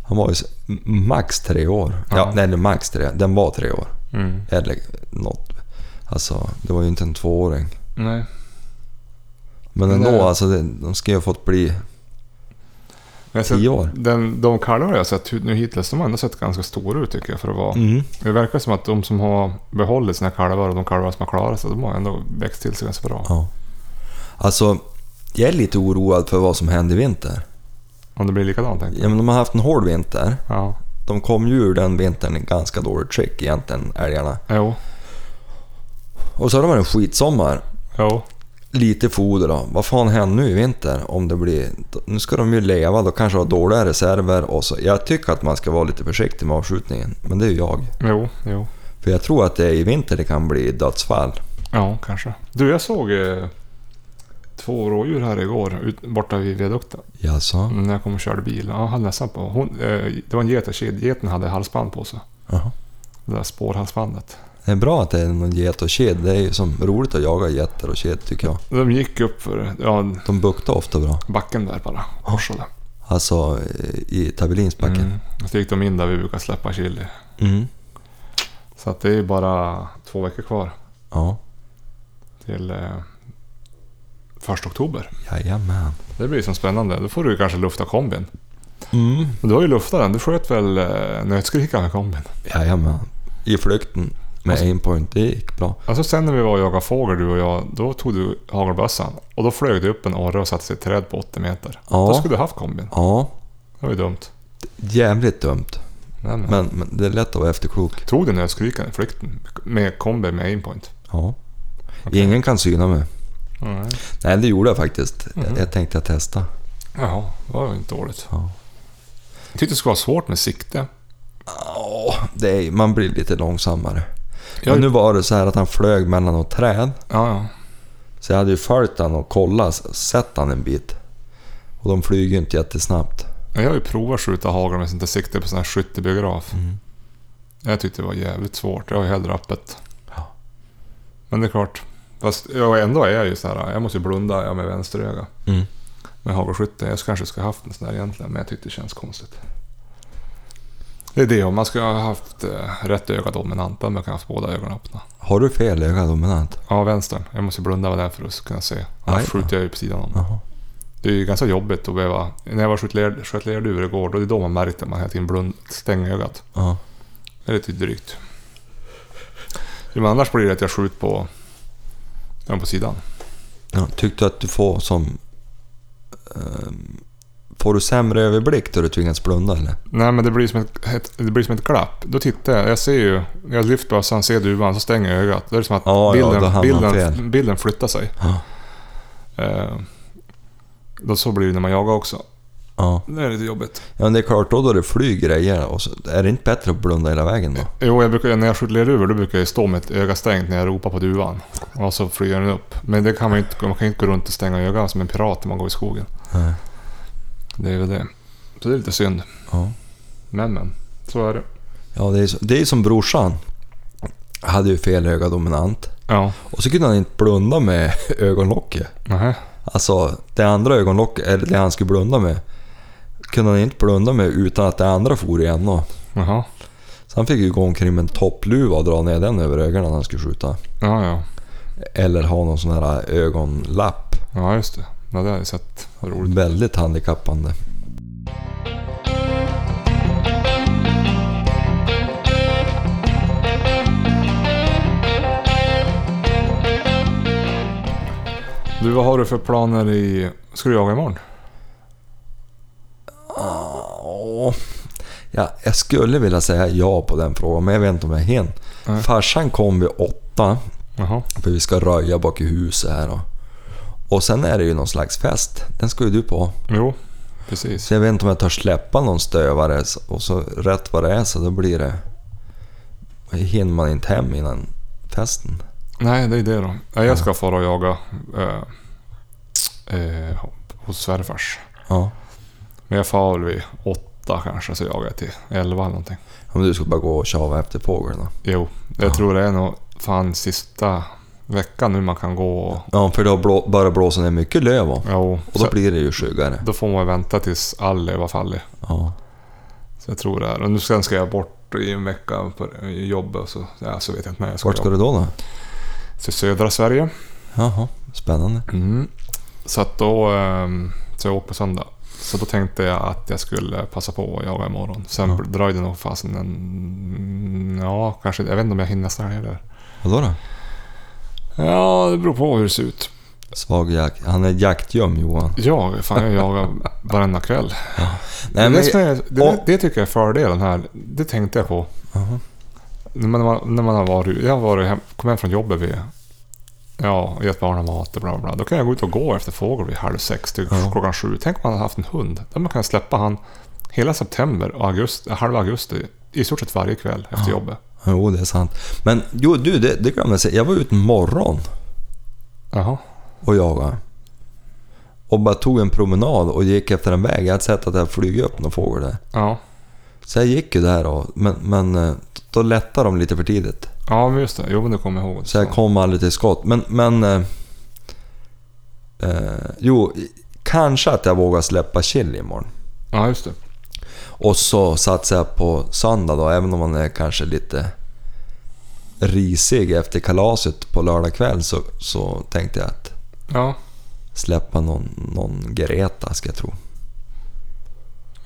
[SPEAKER 2] Han var ju så- m- max tre år. Ja,
[SPEAKER 1] Ja.
[SPEAKER 2] nej, eller max tre. Den var tre år.
[SPEAKER 1] Mm.
[SPEAKER 2] Eller något. Alltså, det var ju inte en tvååring.
[SPEAKER 1] Nej.
[SPEAKER 2] Men
[SPEAKER 1] Men
[SPEAKER 2] ändå,
[SPEAKER 1] det-
[SPEAKER 2] alltså det, de ska ju ha fått bli...
[SPEAKER 1] Men jag har sett-
[SPEAKER 2] Tio år.
[SPEAKER 1] Den, de kalvar jag har sett nu hittills, de har ändå sett ganska stora ut tycker jag. För att vara.
[SPEAKER 2] Mm.
[SPEAKER 1] Det verkar som att de som har behållit sina kalvar och de kalvar som har klarat sig, de har ändå växt till sig ganska bra.
[SPEAKER 2] Ja. Alltså, jag är lite oroad för vad som händer i vinter.
[SPEAKER 1] Om det blir likadant tänkte jag.
[SPEAKER 2] Ja, men de har haft en hård vinter.
[SPEAKER 1] Ja.
[SPEAKER 2] De kom ju ur den vintern i ganska dåligt skick egentligen, älgarna.
[SPEAKER 1] Jo.
[SPEAKER 2] Och så har de varit en skitsommar.
[SPEAKER 1] Jo.
[SPEAKER 2] Lite foder då. Vad fan händer nu i vinter? Om det blir... Nu ska de ju leva, då kanske ha dåliga reserver och så. Jag tycker att man ska vara lite försiktig med avskjutningen, men det är ju jag.
[SPEAKER 1] Jo. Jo.
[SPEAKER 2] För jag tror att det är i vinter det kan bli dödsfall.
[SPEAKER 1] Ja, kanske. Du, jag såg eh, två rådjur här igår ut, borta vid viadukten.
[SPEAKER 2] Jaså?
[SPEAKER 1] Mm, När jag kom och körde bil. Ja, jag hade nästan på. Hon, eh, det var en getarkid. Geten hade halsband på sig.
[SPEAKER 2] Jaha.
[SPEAKER 1] Det där spårhalsbandet.
[SPEAKER 2] Det är bra att det är någon get och ked. Det är ju som roligt att jaga getter och ked tycker jag.
[SPEAKER 1] De gick upp för ja,
[SPEAKER 2] De buktar ofta bra.
[SPEAKER 1] backen där bara. Korsade.
[SPEAKER 2] Alltså eh, i Tabellinsbacken.
[SPEAKER 1] Mm. Så gick de in där vi brukar släppa chili.
[SPEAKER 2] Mm.
[SPEAKER 1] Så att det är bara två veckor kvar
[SPEAKER 2] Ja,
[SPEAKER 1] till eh, första oktober.
[SPEAKER 2] jajamän.
[SPEAKER 1] Det blir som spännande. Då får du kanske lufta kombin.
[SPEAKER 2] Mm.
[SPEAKER 1] Men du har ju luftat den. Du sköt väl eh, nötskrikan med kombin?
[SPEAKER 2] Jajamän. I flykten med
[SPEAKER 1] Alltså-
[SPEAKER 2] aimpoint. Det gick bra.
[SPEAKER 1] Alltså sen när vi var och jagade fågel du och jag, då tog du hagelbössan. Och då flög du upp en orre och satte sig i ett träd på 80 meter.
[SPEAKER 2] Ja.
[SPEAKER 1] Då skulle du haft kombin.
[SPEAKER 2] Ja,
[SPEAKER 1] Det var ju dumt.
[SPEAKER 2] jävligt dumt.
[SPEAKER 1] Men,
[SPEAKER 2] Men, men det är lätt att vara efterklok.
[SPEAKER 1] Tog du nötskrikan i flykten med kombin med aimpoint?
[SPEAKER 2] Ja. Ingen kan syna mig.
[SPEAKER 1] Mm.
[SPEAKER 2] Nej, det gjorde jag faktiskt.
[SPEAKER 1] Mhm.
[SPEAKER 2] Jag, jag tänkte jag testa.
[SPEAKER 1] Jaha, det var ju inte dåligt.
[SPEAKER 2] Ja.
[SPEAKER 1] Jag tyckte det skulle vara svårt med sikte.
[SPEAKER 2] Ja, det är, man blir lite långsammare.
[SPEAKER 1] Jag-
[SPEAKER 2] Men nu var det så här att han flög mellan något träd.
[SPEAKER 1] Ja, ja.
[SPEAKER 2] Så jag hade ju följt han och kollat, sett han en bit. Och de flyger ju inte jättesnabbt.
[SPEAKER 1] Jag har ju provat att skjuta hagel med sånt där sikte på sån här skyttebiograf.
[SPEAKER 2] Mm.
[SPEAKER 1] Jag tyckte det var jävligt svårt. Jag har ju hellre öppet.
[SPEAKER 2] Ja.
[SPEAKER 1] Men det är klart. Fast jag ändå är jag ju så här. Jag måste ju blunda ja, med vänster öga.
[SPEAKER 2] Mm.
[SPEAKER 1] Med hagelskytte. Jag kanske ska haft en sån där egentligen. Men jag tyckte det känns konstigt. Det är det. Om man ska ha haft eh, rätt öga dominant. Då hade man kan ha haft båda ögonen öppna.
[SPEAKER 2] Har du fel öga dominant?
[SPEAKER 1] Ja, vänstern. Jag måste ju blunda med den för att kunna se. Annars
[SPEAKER 2] Aj, ja.
[SPEAKER 1] skjuter jag ju på sidan om.
[SPEAKER 2] Jaha.
[SPEAKER 1] Det är ju ganska jobbigt att behöva... När jag var och sköt ler- sköt lerduvor igår, då är det då man märkte att man hela tiden blund, stänger ögat.
[SPEAKER 2] Ja.
[SPEAKER 1] Det är lite drygt. Jo, Men annars blir det att jag skjuter på, ja, på sidan.
[SPEAKER 2] Ja, tyckte du att du får som... ehm, får du sämre överblick då du tvingas blunda eller?
[SPEAKER 1] Nej, men det blir som ett, ett, det blir som ett glapp. Då tittar jag. Jag ser ju, jag lyfter bössan, ser duvan, så stänger jag ögat. Då är det som att
[SPEAKER 2] Ja, ja, då
[SPEAKER 1] bilden,
[SPEAKER 2] hamnar fel.
[SPEAKER 1] bilden, bilden flyttar sig.
[SPEAKER 2] Ja.
[SPEAKER 1] Eh, då så blir det när man jagar också.
[SPEAKER 2] Ja.
[SPEAKER 1] Det är lite jobbigt.
[SPEAKER 2] ja men det är klart då då det flyger grejer och så, är det inte bättre att blunda hela vägen då?
[SPEAKER 1] Jo, jag brukar, när jag skjuter lerduvor då brukar jag stå med ett öga stängt när jag ropar på duvan. Och så flyger den upp. Men det kan man ju inte, man kan ju inte gå runt och stänga ögat som en pirat när man går i skogen.
[SPEAKER 2] Nej.
[SPEAKER 1] Det är väl det. Så det är lite synd.
[SPEAKER 2] Ja.
[SPEAKER 1] Men men, så är det.
[SPEAKER 2] Ja, det är, så, det är som brorsan. Hade ju fel öga dominant.
[SPEAKER 1] Ja,
[SPEAKER 2] Och så kunde han inte blunda med ögonlocket.
[SPEAKER 1] nähä.
[SPEAKER 2] Alltså det andra ögonlocket, eller det han skulle blunda med, kunde han inte blunda med utan att det andra for igen. då.
[SPEAKER 1] Jaha.
[SPEAKER 2] Så han fick ju gå omkring med en toppluva och dra ner den över ögonen när han skulle skjuta.
[SPEAKER 1] Ja, ja.
[SPEAKER 2] Eller ha någon sån här ögonlapp.
[SPEAKER 1] Ja, just det. Ja, det har jag sett. Vad roligt.
[SPEAKER 2] Väldigt handikappande.
[SPEAKER 1] Du, vad har du för planer i... Ska du jaga imorgon?
[SPEAKER 2] Åh. Ja, jag skulle vilja säga ja på den frågan, men jag vet inte om jag hinner.
[SPEAKER 1] Nej.
[SPEAKER 2] Farsan kom vid åtta,
[SPEAKER 1] Jaha.
[SPEAKER 2] för vi ska röja bak i huset här. Då. Och sen är det ju någon slags fest. Den ska ju du på.
[SPEAKER 1] Jo, precis.
[SPEAKER 2] Så jag vet inte om jag törs släppa någon stövare så- och så rätt vad det är så då blir det... Hinner man inte hem innan festen?
[SPEAKER 1] Nej, det är det då. Nej, jag ska fara och jaga eh, eh, hos svärfars.
[SPEAKER 2] Ja.
[SPEAKER 1] Men jag far väl vid åtta kanske, så jagar jag till elva eller någonting.
[SPEAKER 2] Om du ska bara gå och tjava efter fåglarna.
[SPEAKER 1] Jo, jag
[SPEAKER 2] Ja.
[SPEAKER 1] tror det är nog fan sista veckan nu man kan gå och...
[SPEAKER 2] Ja, för det har blå, börjat blåsa ner mycket löv och,
[SPEAKER 1] Jo,
[SPEAKER 2] och då
[SPEAKER 1] så,
[SPEAKER 2] blir det ju skyggare.
[SPEAKER 1] då får man vänta tills all löv har fallit.
[SPEAKER 2] Ja.
[SPEAKER 1] Så jag tror det är. Och nu sen ska jag bort i en vecka på jobbet och så, ja, så vet jag inte när jag ska,
[SPEAKER 2] Vart ska
[SPEAKER 1] jobba.
[SPEAKER 2] du då då?
[SPEAKER 1] Till södra Sverige.
[SPEAKER 2] Jaha, spännande.
[SPEAKER 1] Mm. Så att då... ehm, Så jag åker på söndag. Så då tänkte jag att jag skulle passa på att jaga imorgon. Sen
[SPEAKER 2] Ja.
[SPEAKER 1] dröjde nog fasen en... Ja, kanske... Jag vet inte om jag hinner nästa helg eller...
[SPEAKER 2] Vadå då?
[SPEAKER 1] Ja, det beror på hur det ser ut.
[SPEAKER 2] Svag jakt. Han är jaktgöm Johan.
[SPEAKER 1] Ja, fan jag jagar varenda kväll.
[SPEAKER 2] Nej,
[SPEAKER 1] det,
[SPEAKER 2] men...
[SPEAKER 1] är det, som är, det,
[SPEAKER 2] och-
[SPEAKER 1] det tycker jag är fördelen här. Det tänkte jag på.
[SPEAKER 2] Jaha.
[SPEAKER 1] När man, när man har varit, jag har varit hem, kom hem från jobbet vid, ja, och gett barnen mat och bla bla. Då kan jag gå ut och gå efter fågel vid halv sex till
[SPEAKER 2] Ja.
[SPEAKER 1] klockan sju. Tänk om man hade haft en hund. Då man kan släppa han hela september och augusti, halva augusti. I stort sett varje kväll efter jobbet.
[SPEAKER 2] Jo, det är sant. Men jo, du, det, det glömde jag säga. Jag var ute en morgon
[SPEAKER 1] Jaha.
[SPEAKER 2] och jagade. Och bara tog en promenad och gick efter en väg. Jag hade sett att det hade flugit upp någon fågel där.
[SPEAKER 1] Ja.
[SPEAKER 2] Så jag gick ju där och, men, men eh, då lättade de lite för tidigt.
[SPEAKER 1] ja, men just det. Jo, men det kommer jag ihåg.
[SPEAKER 2] Så jag kom aldrig till skott. Men, men... Eh, eh, jo, kanske att jag vågar släppa chill imorgon.
[SPEAKER 1] Ja, just det.
[SPEAKER 2] Och så satsar jag på söndag då, även om man är kanske lite risig efter kalaset på lördag kväll så, så tänkte jag att
[SPEAKER 1] Ja.
[SPEAKER 2] släppa någon, någon Greta ska jag tro.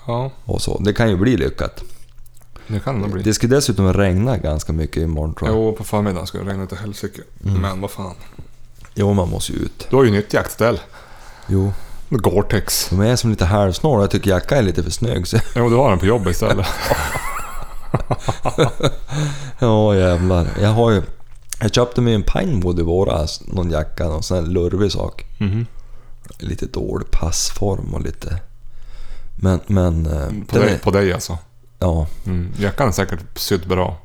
[SPEAKER 1] Ja,
[SPEAKER 2] Och så. Det kan ju bli lyckat.
[SPEAKER 1] det kan det nog bli.
[SPEAKER 2] Det ska dessutom regna ganska mycket imorgon tror jag. Jo,
[SPEAKER 1] Jo, på förmiddagen ska det regna till helsike. Men vad fan.
[SPEAKER 2] man måste ju ut.
[SPEAKER 1] Du har ju nytt jaktställ.
[SPEAKER 2] Jo.
[SPEAKER 1] Gore-Tex.
[SPEAKER 2] De är som lite halvsnåla. Jag tycker jackan är lite för snygg. Så.
[SPEAKER 1] Jo, du har den på jobbet istället.
[SPEAKER 2] Ja jävlar. Jag har ju... Jag köpte mig en Pinewood i våras. Någon jacka, någon sån här lurvig sak.
[SPEAKER 1] Mhm.
[SPEAKER 2] lite dålig passform och lite... Men, men... eh,
[SPEAKER 1] På,
[SPEAKER 2] den
[SPEAKER 1] dig,
[SPEAKER 2] är-
[SPEAKER 1] på dig alltså.
[SPEAKER 2] ja.
[SPEAKER 1] Mm. Jackan är säkert sydd bra.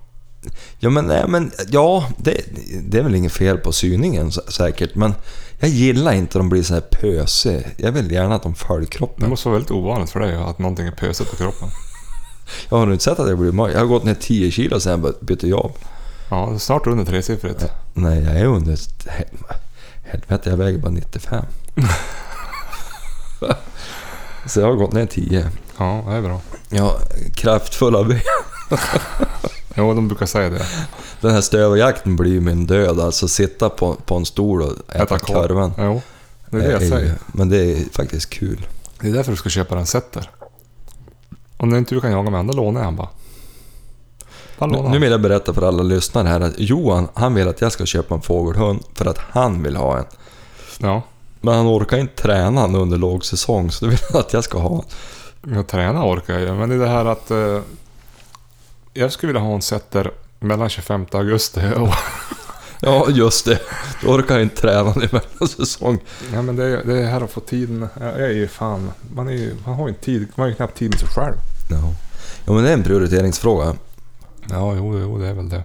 [SPEAKER 2] ja, men, nej, men ja, det, det är väl inget fel på syningen sä- säkert, men jag gillar inte att de blir så här pösiga. Jag vill gärna att de följer
[SPEAKER 1] Det
[SPEAKER 2] kroppen.
[SPEAKER 1] måste vara väldigt ovanligt för dig att någonting är pösigt på kroppen.
[SPEAKER 2] Jag har inte sett att jag blir mörk. Jag har gått ner 10 kilo sen jag bör- bytte jobb.
[SPEAKER 1] Ja, det är snart under tresiffrigt.
[SPEAKER 2] Nej, jag är under... he- Helvete, jag väger bara 95. så jag har gått ner 10.
[SPEAKER 1] Ja, det är bra.
[SPEAKER 2] Jag har kraftfulla ben.
[SPEAKER 1] Jo, de brukar säga det.
[SPEAKER 2] Den här stövarjakten blir ju min död, alltså sitta på, på en stol och äta,
[SPEAKER 1] Äta korv.
[SPEAKER 2] korven.
[SPEAKER 1] Jo, det är det jag
[SPEAKER 2] ju-
[SPEAKER 1] säger.
[SPEAKER 2] Men det är faktiskt kul.
[SPEAKER 1] Det är därför du ska köpa den setter. Om det inte du kan jaga med den, då lånar jag den bara. Bara
[SPEAKER 2] Nu,
[SPEAKER 1] låna
[SPEAKER 2] nu
[SPEAKER 1] den.
[SPEAKER 2] vill jag berätta för alla lyssnare här att Johan, han vill att jag ska köpa en fågelhund för att han vill ha en.
[SPEAKER 1] Ja,
[SPEAKER 2] Men han orkar inte träna nu under lågsäsong, så då vill han att jag ska ha en.
[SPEAKER 1] jag träna orkar jag ju, men det är det här att... Eh, jag skulle vilja ha en setter mellan 25 augusti och
[SPEAKER 2] Ja, just det. Du orkar inte träna nu mellan säsong.
[SPEAKER 1] Ja men det är, det är här att få tiden. Jag är ju fan... Man, är ju, man har ju inte tid, man har ju knappt tid med sig själv.
[SPEAKER 2] Ja. ja, men det är en prioriteringsfråga.
[SPEAKER 1] Ja, jo, jo det är väl det.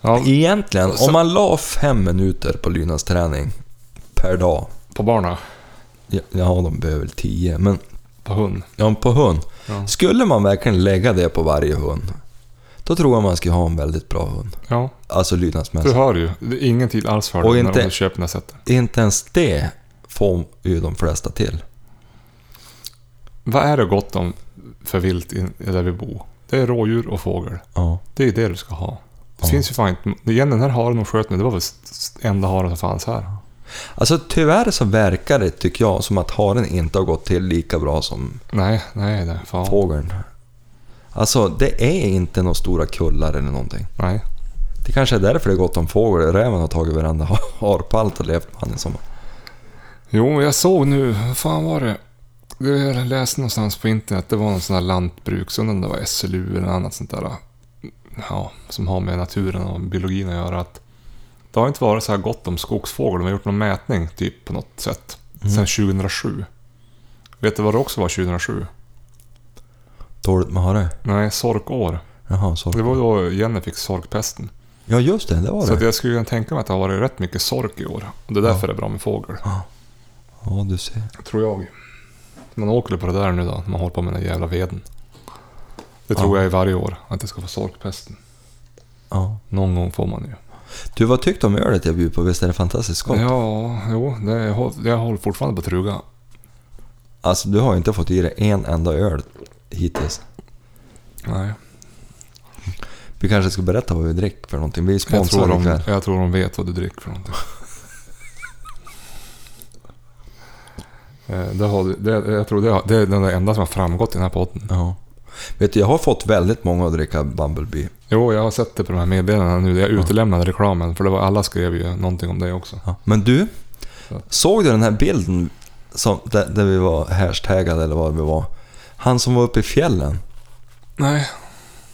[SPEAKER 1] Ja,
[SPEAKER 2] Egentligen,
[SPEAKER 1] Så-
[SPEAKER 2] om man la fem minuter på Lynas träning per dag.
[SPEAKER 1] på barna.
[SPEAKER 2] Ja, ja, de behöver väl tio, men
[SPEAKER 1] På hund.
[SPEAKER 2] Ja, på hund.
[SPEAKER 1] Ja.
[SPEAKER 2] Skulle man verkligen lägga det på varje hund, då tror jag man skulle ha en väldigt bra hund.
[SPEAKER 1] Ja,
[SPEAKER 2] Alltså
[SPEAKER 1] du
[SPEAKER 2] lydnadsmässigt.
[SPEAKER 1] hör ju. Det är ingen tid alls för
[SPEAKER 2] Och
[SPEAKER 1] dig
[SPEAKER 2] inte-
[SPEAKER 1] när du köper den här sättet.
[SPEAKER 2] Inte ens det får ju de flesta till.
[SPEAKER 1] Vad är det gott om för vilt i, där vi bor? Det är rådjur och fågel.
[SPEAKER 2] Ja.
[SPEAKER 1] Det är det du ska ha. Det
[SPEAKER 2] Ja.
[SPEAKER 1] finns ju fan inte... Igen, den här haren de sköt nu, det var väl s- enda haren som fanns här.
[SPEAKER 2] Alltså tyvärr så verkar det, tycker jag, som att haren inte har gått till lika bra som
[SPEAKER 1] Nej, nej, nej. Fan.
[SPEAKER 2] fågeln. Alltså det är inte några stora kullar eller någonting.
[SPEAKER 1] Nej.
[SPEAKER 2] Det kanske är därför det är gott om fågel. Räven har tagit varenda harpalt och levt med han i sommar.
[SPEAKER 1] Jo, jag såg nu, vad fan var det? Det jag läste någonstans på internet, det var någon sån här lantbruks, undrar om det var äh, SLU eller annat sånt där. Ja, som har med naturen och biologin att göra. Att Det har inte varit så här gott om skogsfågel. De har gjort någon mätning typ på något sätt. Sen 2007. Vet du vad det också var 2007?
[SPEAKER 2] Dåligt med hare.
[SPEAKER 1] Nej, sorkår.
[SPEAKER 2] Jaha, sorry.
[SPEAKER 1] Det var då Jenny fick sorkpesten.
[SPEAKER 2] Ja, just det. Det var
[SPEAKER 1] Så
[SPEAKER 2] det.
[SPEAKER 1] att jag skulle kunna tänka mig att det har varit rätt mycket sork i år. Och det är därför
[SPEAKER 2] Ja.
[SPEAKER 1] det är bra med fågel.
[SPEAKER 2] Ja, du ser.
[SPEAKER 1] Tror jag. Man åker på det där nu då, när man håller på med den där jävla veden. Det
[SPEAKER 2] Ja.
[SPEAKER 1] tror jag är varje år, att det ska få sorkpesten.
[SPEAKER 2] Ja.
[SPEAKER 1] Någon gång får man ju.
[SPEAKER 2] Du, vad tyckte du om ölet jag bjöd på? Visst är det fantastiskt gott?
[SPEAKER 1] Ja, jo, det, jag håll- jag håller fortfarande på att truga.
[SPEAKER 2] Alltså, du har ju inte fått i dig en enda öl hittills.
[SPEAKER 1] Nej,
[SPEAKER 2] Vi kanske ska berätta vad vi dricker för någonting. Vi är
[SPEAKER 1] jag tror,
[SPEAKER 2] sponsrade
[SPEAKER 1] de,
[SPEAKER 2] ikväll.
[SPEAKER 1] jag tror de vet vad du dricker för någonting. Eh, det har, det, jag tror det, har, det är den där enda som har framgått i den här podden.
[SPEAKER 2] Ja. Vet du, jag har fått väldigt många att dricka Bumblebee.
[SPEAKER 1] Jo, jag har sett det på de här meddelandena nu. Jag utelämnade reklamen, för det var, alla skrev ju någonting om det också.
[SPEAKER 2] Ja. Men du,
[SPEAKER 1] Ja.
[SPEAKER 2] såg du den här bilden som, där, där vi var hashtaggade eller vad vi var? Han som var uppe i fjällen.
[SPEAKER 1] Nej,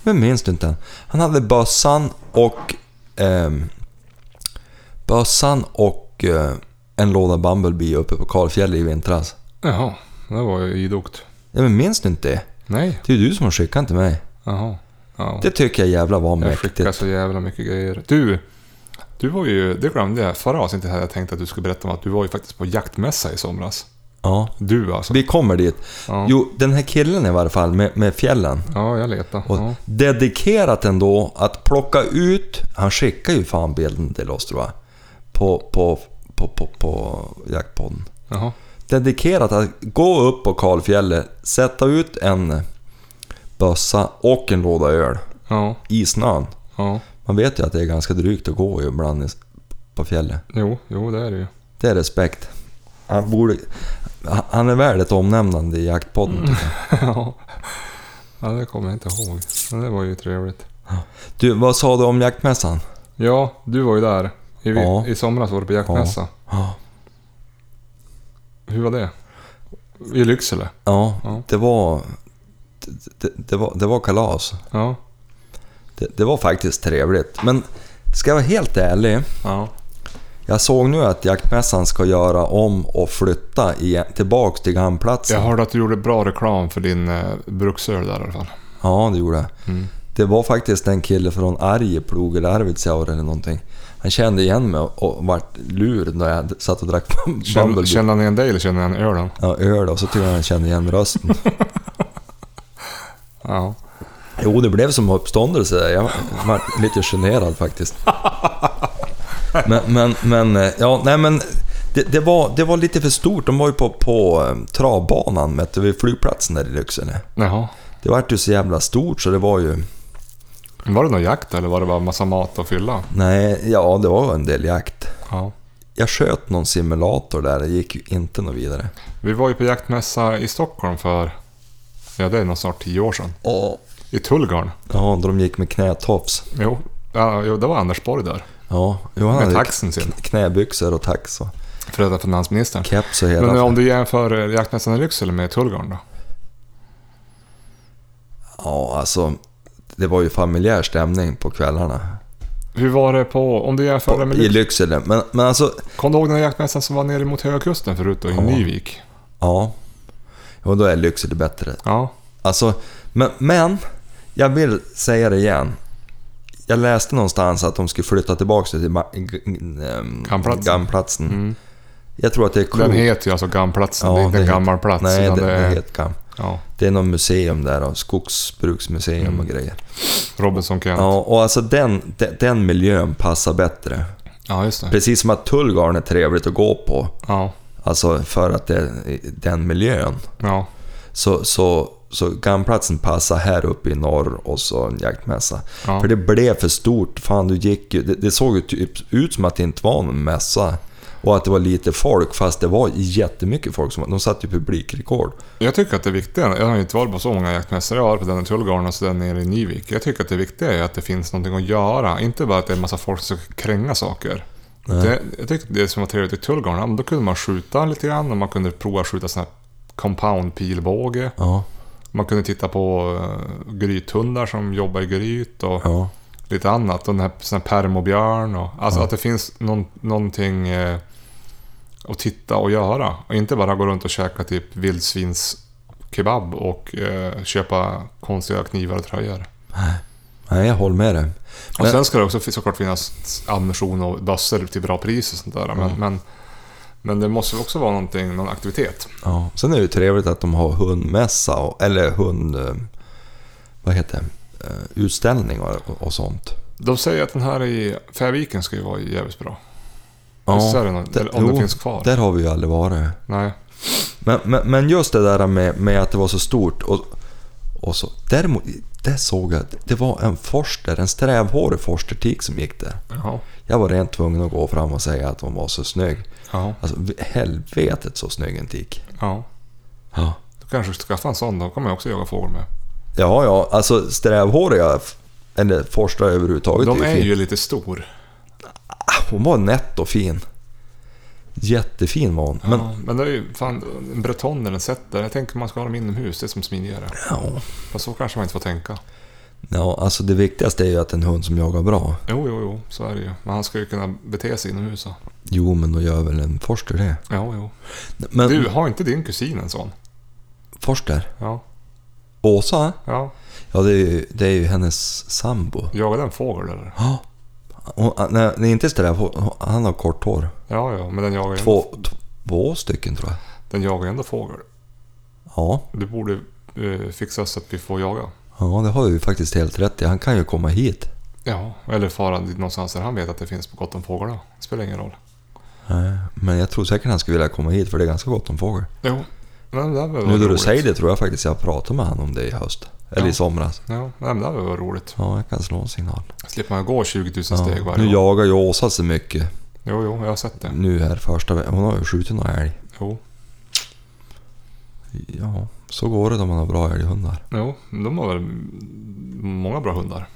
[SPEAKER 2] Men minns du inte? den? Han hade bössan och... ehm, bössan och eh, en låda Bumblebee uppe på Karlfjäll i vintras.
[SPEAKER 1] jaha. Det var ju idogt.
[SPEAKER 2] Ja, men minns du inte det?
[SPEAKER 1] Nej,
[SPEAKER 2] Det är ju du som har skickat den till mig.
[SPEAKER 1] jaha. Ja.
[SPEAKER 2] Det tycker jag jävla var
[SPEAKER 1] Jag skickar
[SPEAKER 2] mäktigt.
[SPEAKER 1] så jävla mycket grejer. Du, du var ju, det glömde jag förra avsnittet här. Jag tänkte att du skulle berätta om att du var ju faktiskt på jaktmässa i somras.
[SPEAKER 2] Ja.
[SPEAKER 1] Du alltså.
[SPEAKER 2] Vi kommer dit.
[SPEAKER 1] Ja,
[SPEAKER 2] Jo, den här killen i varje fall med, med fjällen.
[SPEAKER 1] ja jag letar.
[SPEAKER 2] Och
[SPEAKER 1] Ja.
[SPEAKER 2] Dedikerat ändå att plocka ut... Han skickar ju fan bilden till oss tror jag. På, på, på, på, på jaktpodden.
[SPEAKER 1] Jaha.
[SPEAKER 2] Dedikerat att gå upp på kalfjället, sätta ut en bössa och en låda öl
[SPEAKER 1] Ja,
[SPEAKER 2] i snön.
[SPEAKER 1] ja.
[SPEAKER 2] Man vet ju att det är ganska drygt att gå ibland i- på fjället.
[SPEAKER 1] Jo, jo, det är det ju.
[SPEAKER 2] Det är respekt. Han, borde, han är värd ett omnämnande i jaktpodden. tycker jag.
[SPEAKER 1] ja. ja, det kommer jag inte ihåg. Men det var ju trevligt.
[SPEAKER 2] Du, vad sa du om jaktmässan?
[SPEAKER 1] Ja, du var ju där. I, vi-
[SPEAKER 2] Ja.
[SPEAKER 1] i somras var du på jaktmässa.
[SPEAKER 2] Ja.
[SPEAKER 1] Hur var det? I Lycksele? Ja.
[SPEAKER 2] Ja, det var... det- Det, det, var, det var kalas.
[SPEAKER 1] Ja.
[SPEAKER 2] Det, det var faktiskt trevligt. Men ska jag vara helt ärlig.
[SPEAKER 1] Ja.
[SPEAKER 2] Jag såg nu att jaktmässan ska göra om och flytta igen, tillbaks till
[SPEAKER 1] Jag
[SPEAKER 2] hamnplatsen.
[SPEAKER 1] hörde att du gjorde bra reklam för din eh, bruksöl där i alla fall.
[SPEAKER 2] Ja, det gjorde jag.
[SPEAKER 1] Mm.
[SPEAKER 2] Det var faktiskt en kille från Arjeplog eller Arvidsjaur eller någonting. Han kände igen mig och och vart lur när jag satt och drack
[SPEAKER 1] Kände,
[SPEAKER 2] Bumblebee.
[SPEAKER 1] kände han igen dig eller kände han ölen?
[SPEAKER 2] Ja, öl och så tyckte han han kände igen rösten.
[SPEAKER 1] Ja.
[SPEAKER 2] Jo, det blev som uppståndelse. där. Jag var lite generad faktiskt. Men, men, men eh, ja, nej men. Det, det, var, det var lite för stort. De var ju på, på eh, travbanan vet du, vid flygplatsen där i Lycksele.
[SPEAKER 1] Jaha.
[SPEAKER 2] Det vart ju så jävla stort så det var ju...
[SPEAKER 1] Var det någon jakt eller var det bara massa mat att fylla?
[SPEAKER 2] Nej, ja det var en del jakt.
[SPEAKER 1] Ja.
[SPEAKER 2] Jag sköt någon simulator där, det gick ju inte något vidare.
[SPEAKER 1] Vi var ju på jaktmässa i Stockholm för, ja det är nog snart tio år sedan.
[SPEAKER 2] Ja,
[SPEAKER 1] I Tullgarn.
[SPEAKER 2] då de gick med knätofs.
[SPEAKER 1] Jo, ja, jo det var Anders Borg där.
[SPEAKER 2] Ja, jo, han
[SPEAKER 1] Med
[SPEAKER 2] hade
[SPEAKER 1] taxen sin.
[SPEAKER 2] kn- knäbyxor och tax och
[SPEAKER 1] För detta finansministern.
[SPEAKER 2] keps och hela...
[SPEAKER 1] Men om du jämför eh, jaktmässan i Lycksele med Tullgarn då?
[SPEAKER 2] Ja, alltså. Det var ju familjär stämning på kvällarna.
[SPEAKER 1] Hur var det på, om du jämför det med
[SPEAKER 2] I
[SPEAKER 1] Lycksele?
[SPEAKER 2] Lycksele. Men, men alltså,
[SPEAKER 1] Kom du ihåg den här jaktmässan som var nere mot Höga Kusten förut då, i
[SPEAKER 2] Ja.
[SPEAKER 1] Nyvik?
[SPEAKER 2] ja. Jo, då är Lycksele bättre.
[SPEAKER 1] Ja.
[SPEAKER 2] Alltså, men, men jag vill säga det igen. Jag läste någonstans att de skulle flytta tillbaka till ma- g- g- ehm,
[SPEAKER 1] Gammplatsen.
[SPEAKER 2] Gammplatsen.
[SPEAKER 1] Mm.
[SPEAKER 2] Jag tror att det är klokt.
[SPEAKER 1] Den heter ju alltså Gamplatsen, det är inte en
[SPEAKER 2] heter-
[SPEAKER 1] gammal plats.
[SPEAKER 2] Nej,
[SPEAKER 1] utan
[SPEAKER 2] det,
[SPEAKER 1] det
[SPEAKER 2] det
[SPEAKER 1] är,
[SPEAKER 2] heter Gam.
[SPEAKER 1] ja,
[SPEAKER 2] Det är något museum där, och skogsbruksmuseum och grejer.
[SPEAKER 1] Robinson Kent. Mm. Ja.
[SPEAKER 2] Ja, och alltså den, den, den miljön passar bättre.
[SPEAKER 1] ja, just det.
[SPEAKER 2] Precis som att Tullgarn är trevligt att gå på.
[SPEAKER 1] Ja,
[SPEAKER 2] Alltså för att det är den miljön.
[SPEAKER 1] ja.
[SPEAKER 2] Så, så, så gamplatsen passar här uppe i norr och så en jaktmässa.
[SPEAKER 1] Ja.
[SPEAKER 2] För det blev för stort. Fan, du gick ju, det, det såg ju typ ut som att det inte var någon mässa. Och att det var lite folk, fast det var jättemycket folk. Som, de satte ju publikrekord.
[SPEAKER 1] Jag tycker att det viktiga, jag har ju inte varit på så många jaktmässor, jag har varit på den i Tullgarden och så den nere i Nyvik. Jag tycker att det viktiga är att det finns någonting att göra, inte bara att det är en massa folk som ska kränga saker. Det, jag tycker att det som var trevligt i Tullgarden, ja, men då kunde man skjuta lite grann och man kunde prova att skjuta sån här compound-pilbåge.
[SPEAKER 2] Ja,
[SPEAKER 1] eh, Man kunde titta på uh, grythundar som jobbar i gryt och
[SPEAKER 2] ja.
[SPEAKER 1] lite annat. Och den här, sån här permobjörn och... Alltså
[SPEAKER 2] Ja.
[SPEAKER 1] att det finns någon, någonting eh, att titta och göra. Och inte bara gå runt och käka typ vildsvinskebab och eh, köpa konstiga knivar och tröjor.
[SPEAKER 2] Nej, jag håller med dig.
[SPEAKER 1] Och
[SPEAKER 2] Men-
[SPEAKER 1] sen ska det också fin- såklart finnas ammunition och bössor till bra pris och sånt där. Men,
[SPEAKER 2] Mm.
[SPEAKER 1] men, men det måste väl också vara någonting, någon aktivitet.
[SPEAKER 2] Ja. Sen är det ju trevligt att de har hundmässa, och, eller hund... eh, Vad heter det? Eh, Utställning och, och sånt.
[SPEAKER 1] De säger att den här i Färviken ska ju vara jävligt bra. Visst är
[SPEAKER 2] Ja,
[SPEAKER 1] det någon,
[SPEAKER 2] det-
[SPEAKER 1] eller om
[SPEAKER 2] jo,
[SPEAKER 1] det finns kvar.
[SPEAKER 2] där har vi ju aldrig varit.
[SPEAKER 1] Nej.
[SPEAKER 2] Men, men, men just det där med, med att det var så stort. Och, och så, däremot, det såg jag. Det var en forster, en strävhårig forstertik som gick där.
[SPEAKER 1] Jaha.
[SPEAKER 2] Jag var rent tvungen att gå fram och säga att hon var så snygg.
[SPEAKER 1] Ja.
[SPEAKER 2] Alltså helvetet så snygg en tik.
[SPEAKER 1] ja.
[SPEAKER 2] Ja,
[SPEAKER 1] Då kanske jag ska skaffa en sån. Då kommer jag också jaga fågel med.
[SPEAKER 2] ja, ja alltså strävhåriga, f- eller forstrar överhuvudtaget.
[SPEAKER 1] De är
[SPEAKER 2] fint.
[SPEAKER 1] ju lite stor.
[SPEAKER 2] Ah, Hon var nätt och fin. Jättefin var hon. Men,
[SPEAKER 1] Ja, men det är ju fan en breton eller en setter. Jag tänker man ska ha dem inomhus. Det är som smidigare.
[SPEAKER 2] ja,
[SPEAKER 1] Fast så kanske man inte får tänka.
[SPEAKER 2] ja, alltså det viktigaste är ju att en hund som jagar bra.
[SPEAKER 1] Jo, jo, jo. Så är det ju. Men han ska ju kunna bete sig inomhus. Ja,
[SPEAKER 2] Jo, men då gör väl en forster det.
[SPEAKER 1] jo. jo.
[SPEAKER 2] Men
[SPEAKER 1] Du, har inte din kusin en sån?
[SPEAKER 2] forster?
[SPEAKER 1] Ja.
[SPEAKER 2] Åsa?
[SPEAKER 1] ja.
[SPEAKER 2] Ja, det är ju, det är ju hennes sambo.
[SPEAKER 1] Jagade en fågel eller?
[SPEAKER 2] Ja. Hon, ah, nej, nej, inte strävhårig. Han har kort hår.
[SPEAKER 1] Ja, ja. Men den jagar ju ändå,
[SPEAKER 2] Två, två stycken tror jag.
[SPEAKER 1] den jagar ju ändå fågel.
[SPEAKER 2] Ja.
[SPEAKER 1] Du borde eh, fixa så att vi får jaga.
[SPEAKER 2] Ja, det har du ju faktiskt helt rätt i. Han kan ju komma hit.
[SPEAKER 1] Ja, eller fara dit någonstans där han vet att det finns gott om fåglar. då. Det spelar ingen roll.
[SPEAKER 2] Nej, Men jag tror säkert han skulle vilja komma hit för det är ganska gott om fågel.
[SPEAKER 1] Jo, men det där var
[SPEAKER 2] Nu när du
[SPEAKER 1] roligt.
[SPEAKER 2] säger det tror jag faktiskt jag pratade med honom om det i höst. Eller
[SPEAKER 1] Ja.
[SPEAKER 2] i somras.
[SPEAKER 1] Ja, nej, men det där var roligt.
[SPEAKER 2] Ja, jag kan slå en signal.
[SPEAKER 1] Slipper man gå 20 000
[SPEAKER 2] Ja.
[SPEAKER 1] steg varje
[SPEAKER 2] Nu
[SPEAKER 1] år.
[SPEAKER 2] jagar ju Åsa så mycket.
[SPEAKER 1] Jo, jo, jag har sett det.
[SPEAKER 2] Nu här första veckan. Hon har ju skjutit någon älg.
[SPEAKER 1] Jo,
[SPEAKER 2] Ja, så går det om man har bra älghundar.
[SPEAKER 1] jo de har väl mm, många bra hundar.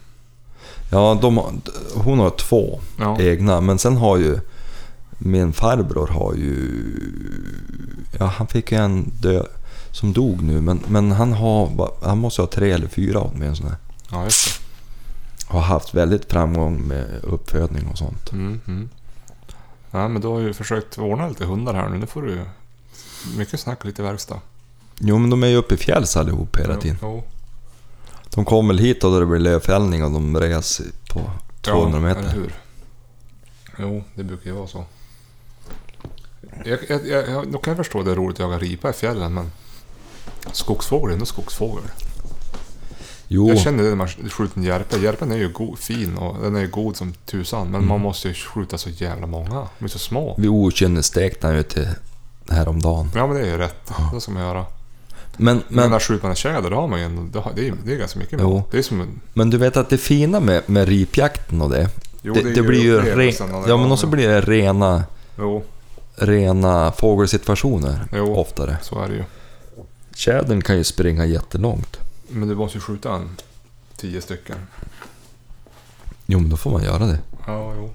[SPEAKER 2] Ja, de, har- hon har två
[SPEAKER 1] Ja,
[SPEAKER 2] egna. Men sen har ju min farbror har ju... Ja, han fick ju en dö, som dog nu. Men, men han, har, han måste ha tre eller fyra åtminstone.
[SPEAKER 1] ja just
[SPEAKER 2] Har haft väldigt framgång med uppfödning och sånt.
[SPEAKER 1] det. Mm, mm. Ja, men du har ju försökt ordna lite hundar här nu. Nu får du mycket snack och lite verkstad.
[SPEAKER 2] Jo, men de är ju uppe i fjälls allihop hela
[SPEAKER 1] Jo,
[SPEAKER 2] tiden.
[SPEAKER 1] Jo,
[SPEAKER 2] De kommer väl hit och då det blir lövfällning och de res på 200
[SPEAKER 1] ja, Eller
[SPEAKER 2] meter.
[SPEAKER 1] hur? Jo, det brukar ju vara så. Jag, jag, jag, jag, då kan jag förstå att det är roligt att jaga ripa i fjällen, men skogsfågel är ändå skogsfågel.
[SPEAKER 2] Jo,
[SPEAKER 1] Jag känner det när man skjuter en järpe. Järpen är ju go- fin och den är ju god som tusan, men
[SPEAKER 2] Mm.
[SPEAKER 1] man måste ju skjuta så jävla många. De är så små.
[SPEAKER 2] vi okynnesstekte han ju till häromdagen.
[SPEAKER 1] Ja, men det är ju rätt. Det ska man göra.
[SPEAKER 2] Men,
[SPEAKER 1] Men
[SPEAKER 2] men,
[SPEAKER 1] när skjuter man en tjäder, då har man ju en, då har, det, är, ju- det är ganska mycket.
[SPEAKER 2] Jo.
[SPEAKER 1] Det är som en...
[SPEAKER 2] men du vet att det fina med, med ripjakten och det,
[SPEAKER 1] Jo,
[SPEAKER 2] det,
[SPEAKER 1] är
[SPEAKER 2] det blir ju
[SPEAKER 1] upplevelsen av
[SPEAKER 2] re-
[SPEAKER 1] det.
[SPEAKER 2] ja, men också blir det rena,
[SPEAKER 1] Jo,
[SPEAKER 2] rena fågelsituationer
[SPEAKER 1] Jo.
[SPEAKER 2] oftare.
[SPEAKER 1] så är det ju.
[SPEAKER 2] Tjädern kan ju springa jättelångt.
[SPEAKER 1] Men du måste ju skjuta en tio stycken.
[SPEAKER 2] Jo, men då får man göra det.
[SPEAKER 1] Ja, jo.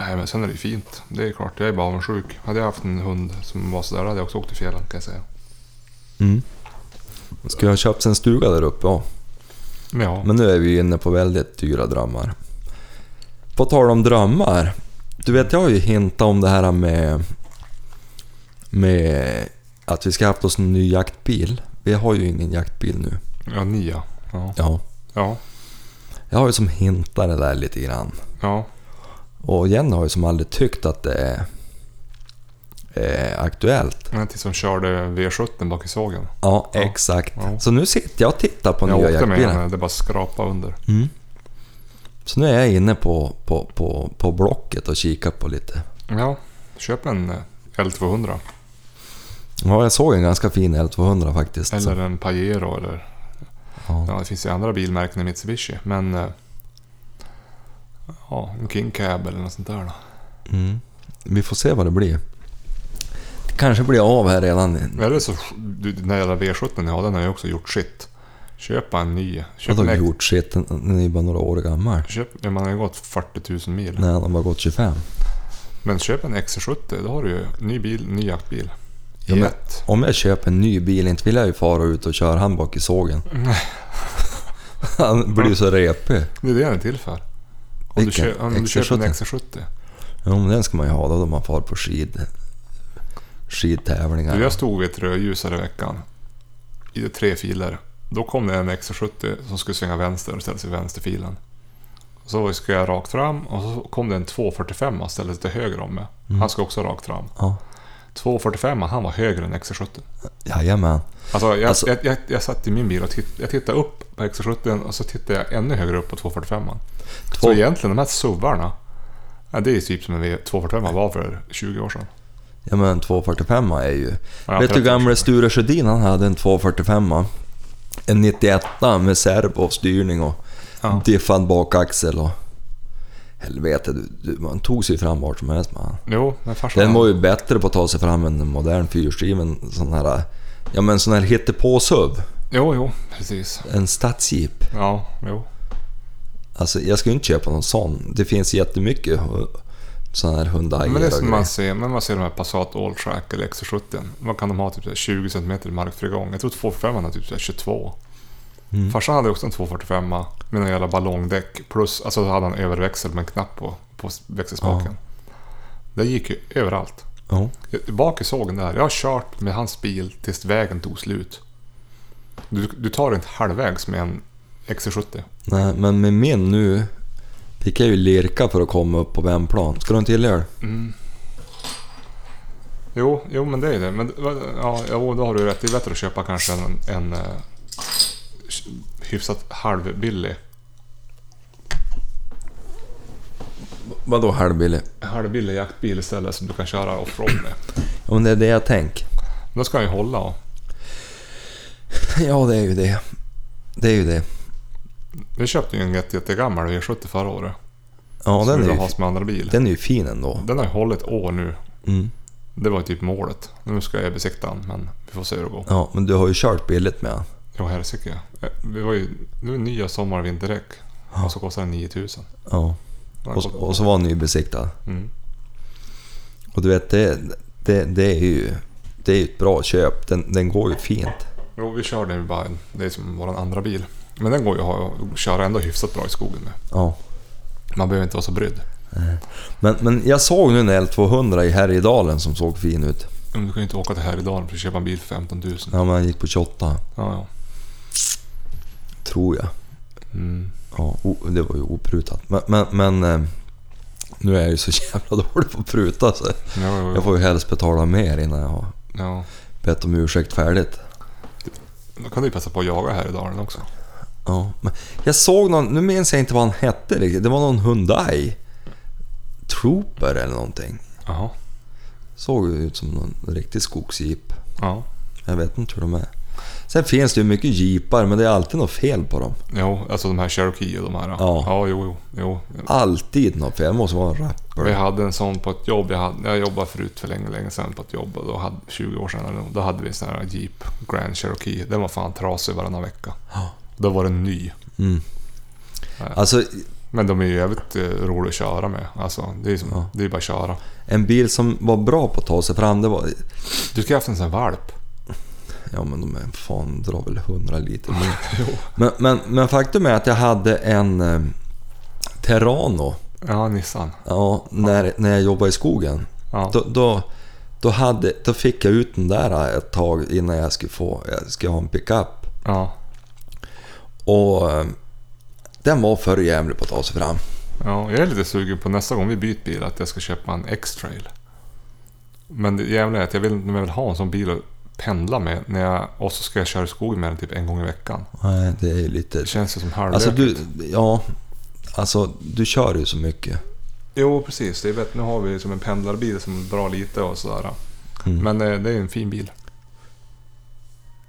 [SPEAKER 1] Nej, men sen är det ju fint. Det är klart, jag är bara avundsjuk. Hade jag haft en hund som var sådär hade jag också åkt till fjällen kan jag säga.
[SPEAKER 2] Mm. Skulle ha köpt sig en stuga där uppe, ja.
[SPEAKER 1] Ja,
[SPEAKER 2] Men nu är vi inne på väldigt dyra drömmar. På tal om drömmar. Du vet, jag har ju hintat om det här med... Med att vi ska haft oss en ny jaktbil. Vi har ju ingen jaktbil nu.
[SPEAKER 1] ja nia. Ja.
[SPEAKER 2] Ja.
[SPEAKER 1] Ja,
[SPEAKER 2] Jag har ju som hintat det där lite grann.
[SPEAKER 1] ja.
[SPEAKER 2] Och Jenny har ju som aldrig tyckt att det är, är aktuellt.
[SPEAKER 1] Den här tills som körde V17 bak i sågen.
[SPEAKER 2] Ja,
[SPEAKER 1] Ja.
[SPEAKER 2] exakt.
[SPEAKER 1] Ja.
[SPEAKER 2] Så nu sitter jag och tittar på
[SPEAKER 1] jag
[SPEAKER 2] nya
[SPEAKER 1] åkte med
[SPEAKER 2] jaktbilar.
[SPEAKER 1] henne, det bara skrapa under.
[SPEAKER 2] Mm. Så nu är jag inne på, på, på, på Blocket och kikar på lite.
[SPEAKER 1] Ja, köp en eh, L200.
[SPEAKER 2] Ja, jag såg en ganska fin L200 faktiskt.
[SPEAKER 1] Eller en Pajero eller...
[SPEAKER 2] Ja.
[SPEAKER 1] Ja, det finns ju andra bilmärken än Mitsubishi, men... eh, Ja, en King Cab eller något sånt där då.
[SPEAKER 2] Mm. Vi får se vad det blir. Det kanske blir av här redan.
[SPEAKER 1] Eller så, du, den där jävla V17 ja, den har ju också gjort sitt. Köpa en ny. Köp
[SPEAKER 2] Vadå
[SPEAKER 1] en äkta,
[SPEAKER 2] gjort shit? Den- Den är ju bara några år gammal.
[SPEAKER 1] köp, ja, man har ju gått 40 000 mil.
[SPEAKER 2] Nej, den har bara gått 25.
[SPEAKER 1] Men köp en XC70, då har du ju ny bil, ny jaktbil.
[SPEAKER 2] Ja,
[SPEAKER 1] Ja,
[SPEAKER 2] men-
[SPEAKER 1] Jätt.
[SPEAKER 2] Om jag köper en ny bil, inte vill jag ju fara ut och köra han bak i sågen. Han blir ju så repig.
[SPEAKER 1] Det är det den är till för. Om du,
[SPEAKER 2] Vilken?
[SPEAKER 1] kö- om du köper en
[SPEAKER 2] XC70?
[SPEAKER 1] XC70.
[SPEAKER 2] Jo, men den ska man ju ha då när man far på skid...
[SPEAKER 1] Du,
[SPEAKER 2] skidtävlingar.
[SPEAKER 1] jag stod vid ett rödljus här i veckan. I tre filer. Då kom det en XC70 som skulle svänga vänster och ställde sig i vänsterfilen. Så skulle jag rakt fram och så kom det en 245 och ställde sig till höger om mig.
[SPEAKER 2] Mm.
[SPEAKER 1] Han skulle också rakt fram.
[SPEAKER 2] Ja.
[SPEAKER 1] 245 han var högre än XC70.
[SPEAKER 2] Jajamän.
[SPEAKER 1] Alltså jag,
[SPEAKER 2] Alltså-
[SPEAKER 1] jag, jag, jag satt i min bil och titt, jag tittade upp på XC70 och så tittade jag ännu högre upp på 245. Så
[SPEAKER 2] Två-
[SPEAKER 1] egentligen de här SUVarna, ja, det är typ som en V- 245 var för 20 år sedan.
[SPEAKER 2] Ja men 245 är ju...
[SPEAKER 1] Ja,
[SPEAKER 2] Vet du
[SPEAKER 1] 30 år sedan.
[SPEAKER 2] gamle Sture Sjödin han hade en 245 En 91 med servo och styrning och
[SPEAKER 1] Ja.
[SPEAKER 2] diffad bakaxel och... Helvete, du, du, man tog sig fram vart som helst man.
[SPEAKER 1] Jo, men farsan...
[SPEAKER 2] Den var ju bättre på att ta sig fram än en modern fyrstriven sån här... Ja men sån här hittepåsuv.
[SPEAKER 1] Jo, jo, precis.
[SPEAKER 2] En stadsjeep.
[SPEAKER 1] Ja, jo.
[SPEAKER 2] Alltså jag skulle inte köpa någon sån. Det finns jättemycket sån här Hyundai
[SPEAKER 1] Men det är som
[SPEAKER 2] grejer.
[SPEAKER 1] man ser, men man ser de här Passat Alltrack eller XC70. Vad kan de ha? Typ så här 20 cm markfrigång. Jag tror 245 hade typ så här 22.
[SPEAKER 2] Mm.
[SPEAKER 1] Farsan hade också en 245 med någon jävla ballongdäck. Plus, alltså då hade han överväxel med en knapp på, på växelspaken. Det gick ju överallt.
[SPEAKER 2] Ja.
[SPEAKER 1] Bak i sågen där. Jag har kört med hans bil tills vägen tog slut. Du, du tar inte halvvägs med en XC70.
[SPEAKER 2] Nej, men med min nu fick jag ju lirka för att komma upp på vändplan. Ska du inte tillhöra?
[SPEAKER 1] Jo, jo men det är det. Men ja, jo, då har du rätt. Det är bättre att köpa kanske en, en eh, hyfsat halvbillig.
[SPEAKER 2] Vadå halvbillig?
[SPEAKER 1] Halvbillig jaktbil istället som du kan köra offroad med.
[SPEAKER 2] Ja, men det är det jag tänker.
[SPEAKER 1] Då ska den ju hålla. och-
[SPEAKER 2] Ja, det är ju det. Det är ju det.
[SPEAKER 1] Vi köpte ju en jätte- jättegammal V70 förra året.
[SPEAKER 2] Ja,
[SPEAKER 1] som
[SPEAKER 2] den
[SPEAKER 1] vi
[SPEAKER 2] är,
[SPEAKER 1] vill
[SPEAKER 2] ju,
[SPEAKER 1] ha som andra bil.
[SPEAKER 2] den är ju fin ändå.
[SPEAKER 1] Den har ju hållit ett år nu.
[SPEAKER 2] Mm.
[SPEAKER 1] Det var ju typ målet. Nu ska jag besikta den men vi får se hur det går.
[SPEAKER 2] Ja, men du har ju kört billigt med den.
[SPEAKER 1] Jo helsike. Eh, Vi var ju nu är det nya sommar och vinterdäck. Och så kostar den 9000.
[SPEAKER 2] Ja.
[SPEAKER 1] Den har
[SPEAKER 2] Och,
[SPEAKER 1] gått-
[SPEAKER 2] och så var den ju besiktad.
[SPEAKER 1] Mm.
[SPEAKER 2] Och du vet, det, det, det är ju det är ju ett bra köp. Den, den går ju fint.
[SPEAKER 1] Jo, vi kör den ju bara. Det är som vår andra bil. Men den går ju att ha- att köra ändå hyfsat bra i skogen med.
[SPEAKER 2] Ja.
[SPEAKER 1] Man behöver inte vara så brydd.
[SPEAKER 2] Men, men jag såg nu en L200 i Härjedalen som såg fin ut.
[SPEAKER 1] Men du kan ju inte åka till Härjedalen för att köpa en bil för 15 000. Ja,
[SPEAKER 2] Ja, men han gick på 28,
[SPEAKER 1] ja.
[SPEAKER 2] tror jag.
[SPEAKER 1] Mm.
[SPEAKER 2] Ja, o- det var ju oprutat. Men, men, men eh, nu är jag ju så jävla dålig på att pruta så
[SPEAKER 1] Jo, jo, jo.
[SPEAKER 2] jag får ju helst betala mer innan jag har
[SPEAKER 1] Ja.
[SPEAKER 2] bett om ursäkt färdigt.
[SPEAKER 1] Då kan du ju passa på att jaga Härjedalen också.
[SPEAKER 2] Ja, men jag såg någon, nu minns jag inte vad han hette riktigt, det var någon Hyundai Trooper eller någonting.
[SPEAKER 1] Jaha.
[SPEAKER 2] Såg ju ut som någon riktig skogsjeep.
[SPEAKER 1] Ja.
[SPEAKER 2] Jag vet inte hur de är. Sen finns det ju mycket jeepar men det är alltid något fel på dem.
[SPEAKER 1] Jo, alltså de här Cherokee och de här.
[SPEAKER 2] Ja.
[SPEAKER 1] ja jo, jo. jo.
[SPEAKER 2] Alltid något fel, det måste vara en
[SPEAKER 1] Vi
[SPEAKER 2] rapper.
[SPEAKER 1] hade en sån på ett jobb. Jag, hade, jag jobbade förut för länge, länge sedan på ett jobb. Och då hade, 20 år sedan eller något, Då hade vi en sån här Jeep Grand Cherokee. Den var fan trasig varannan vecka.
[SPEAKER 2] Ja.
[SPEAKER 1] Då var den ny.
[SPEAKER 2] Mm. Alltså
[SPEAKER 1] Men de är ju jävligt eh, roliga att köra med. Alltså, det är som,
[SPEAKER 2] Ja.
[SPEAKER 1] det är bara att köra.
[SPEAKER 2] en bil som var bra på att ta sig fram, det var,
[SPEAKER 1] Du ska haft en sån här valp.
[SPEAKER 2] Ja men de är, fan drar väl 100 liter mer. men, men, men faktum är att jag hade en eh, Terrano
[SPEAKER 1] Ja, Nissan.
[SPEAKER 2] ja, när, när jag jobbade i skogen.
[SPEAKER 1] Ja.
[SPEAKER 2] Då, då, då, hade, då fick jag ut den där eh, ett tag innan jag skulle, få, jag skulle ha en pickup.
[SPEAKER 1] Ja.
[SPEAKER 2] Och eh, den var för jävlig på att ta sig fram.
[SPEAKER 1] ja. Jag är lite sugen på nästa gång vi byter bil att jag ska köpa en X-trail. Men det jävla är att jag vill, jag vill ha en sån bil att pendla med när jag, och så ska jag köra i skogen med den typ en gång i veckan.
[SPEAKER 2] Nej, det är ju lite...
[SPEAKER 1] Det känns ju som halvlek.
[SPEAKER 2] Alltså du, ja, alltså du kör ju så mycket.
[SPEAKER 1] Jo, precis. Det är bättre. Nu har vi som en pendlarbil som drar lite och sådär.
[SPEAKER 2] Mm.
[SPEAKER 1] Men eh, det är en fin bil.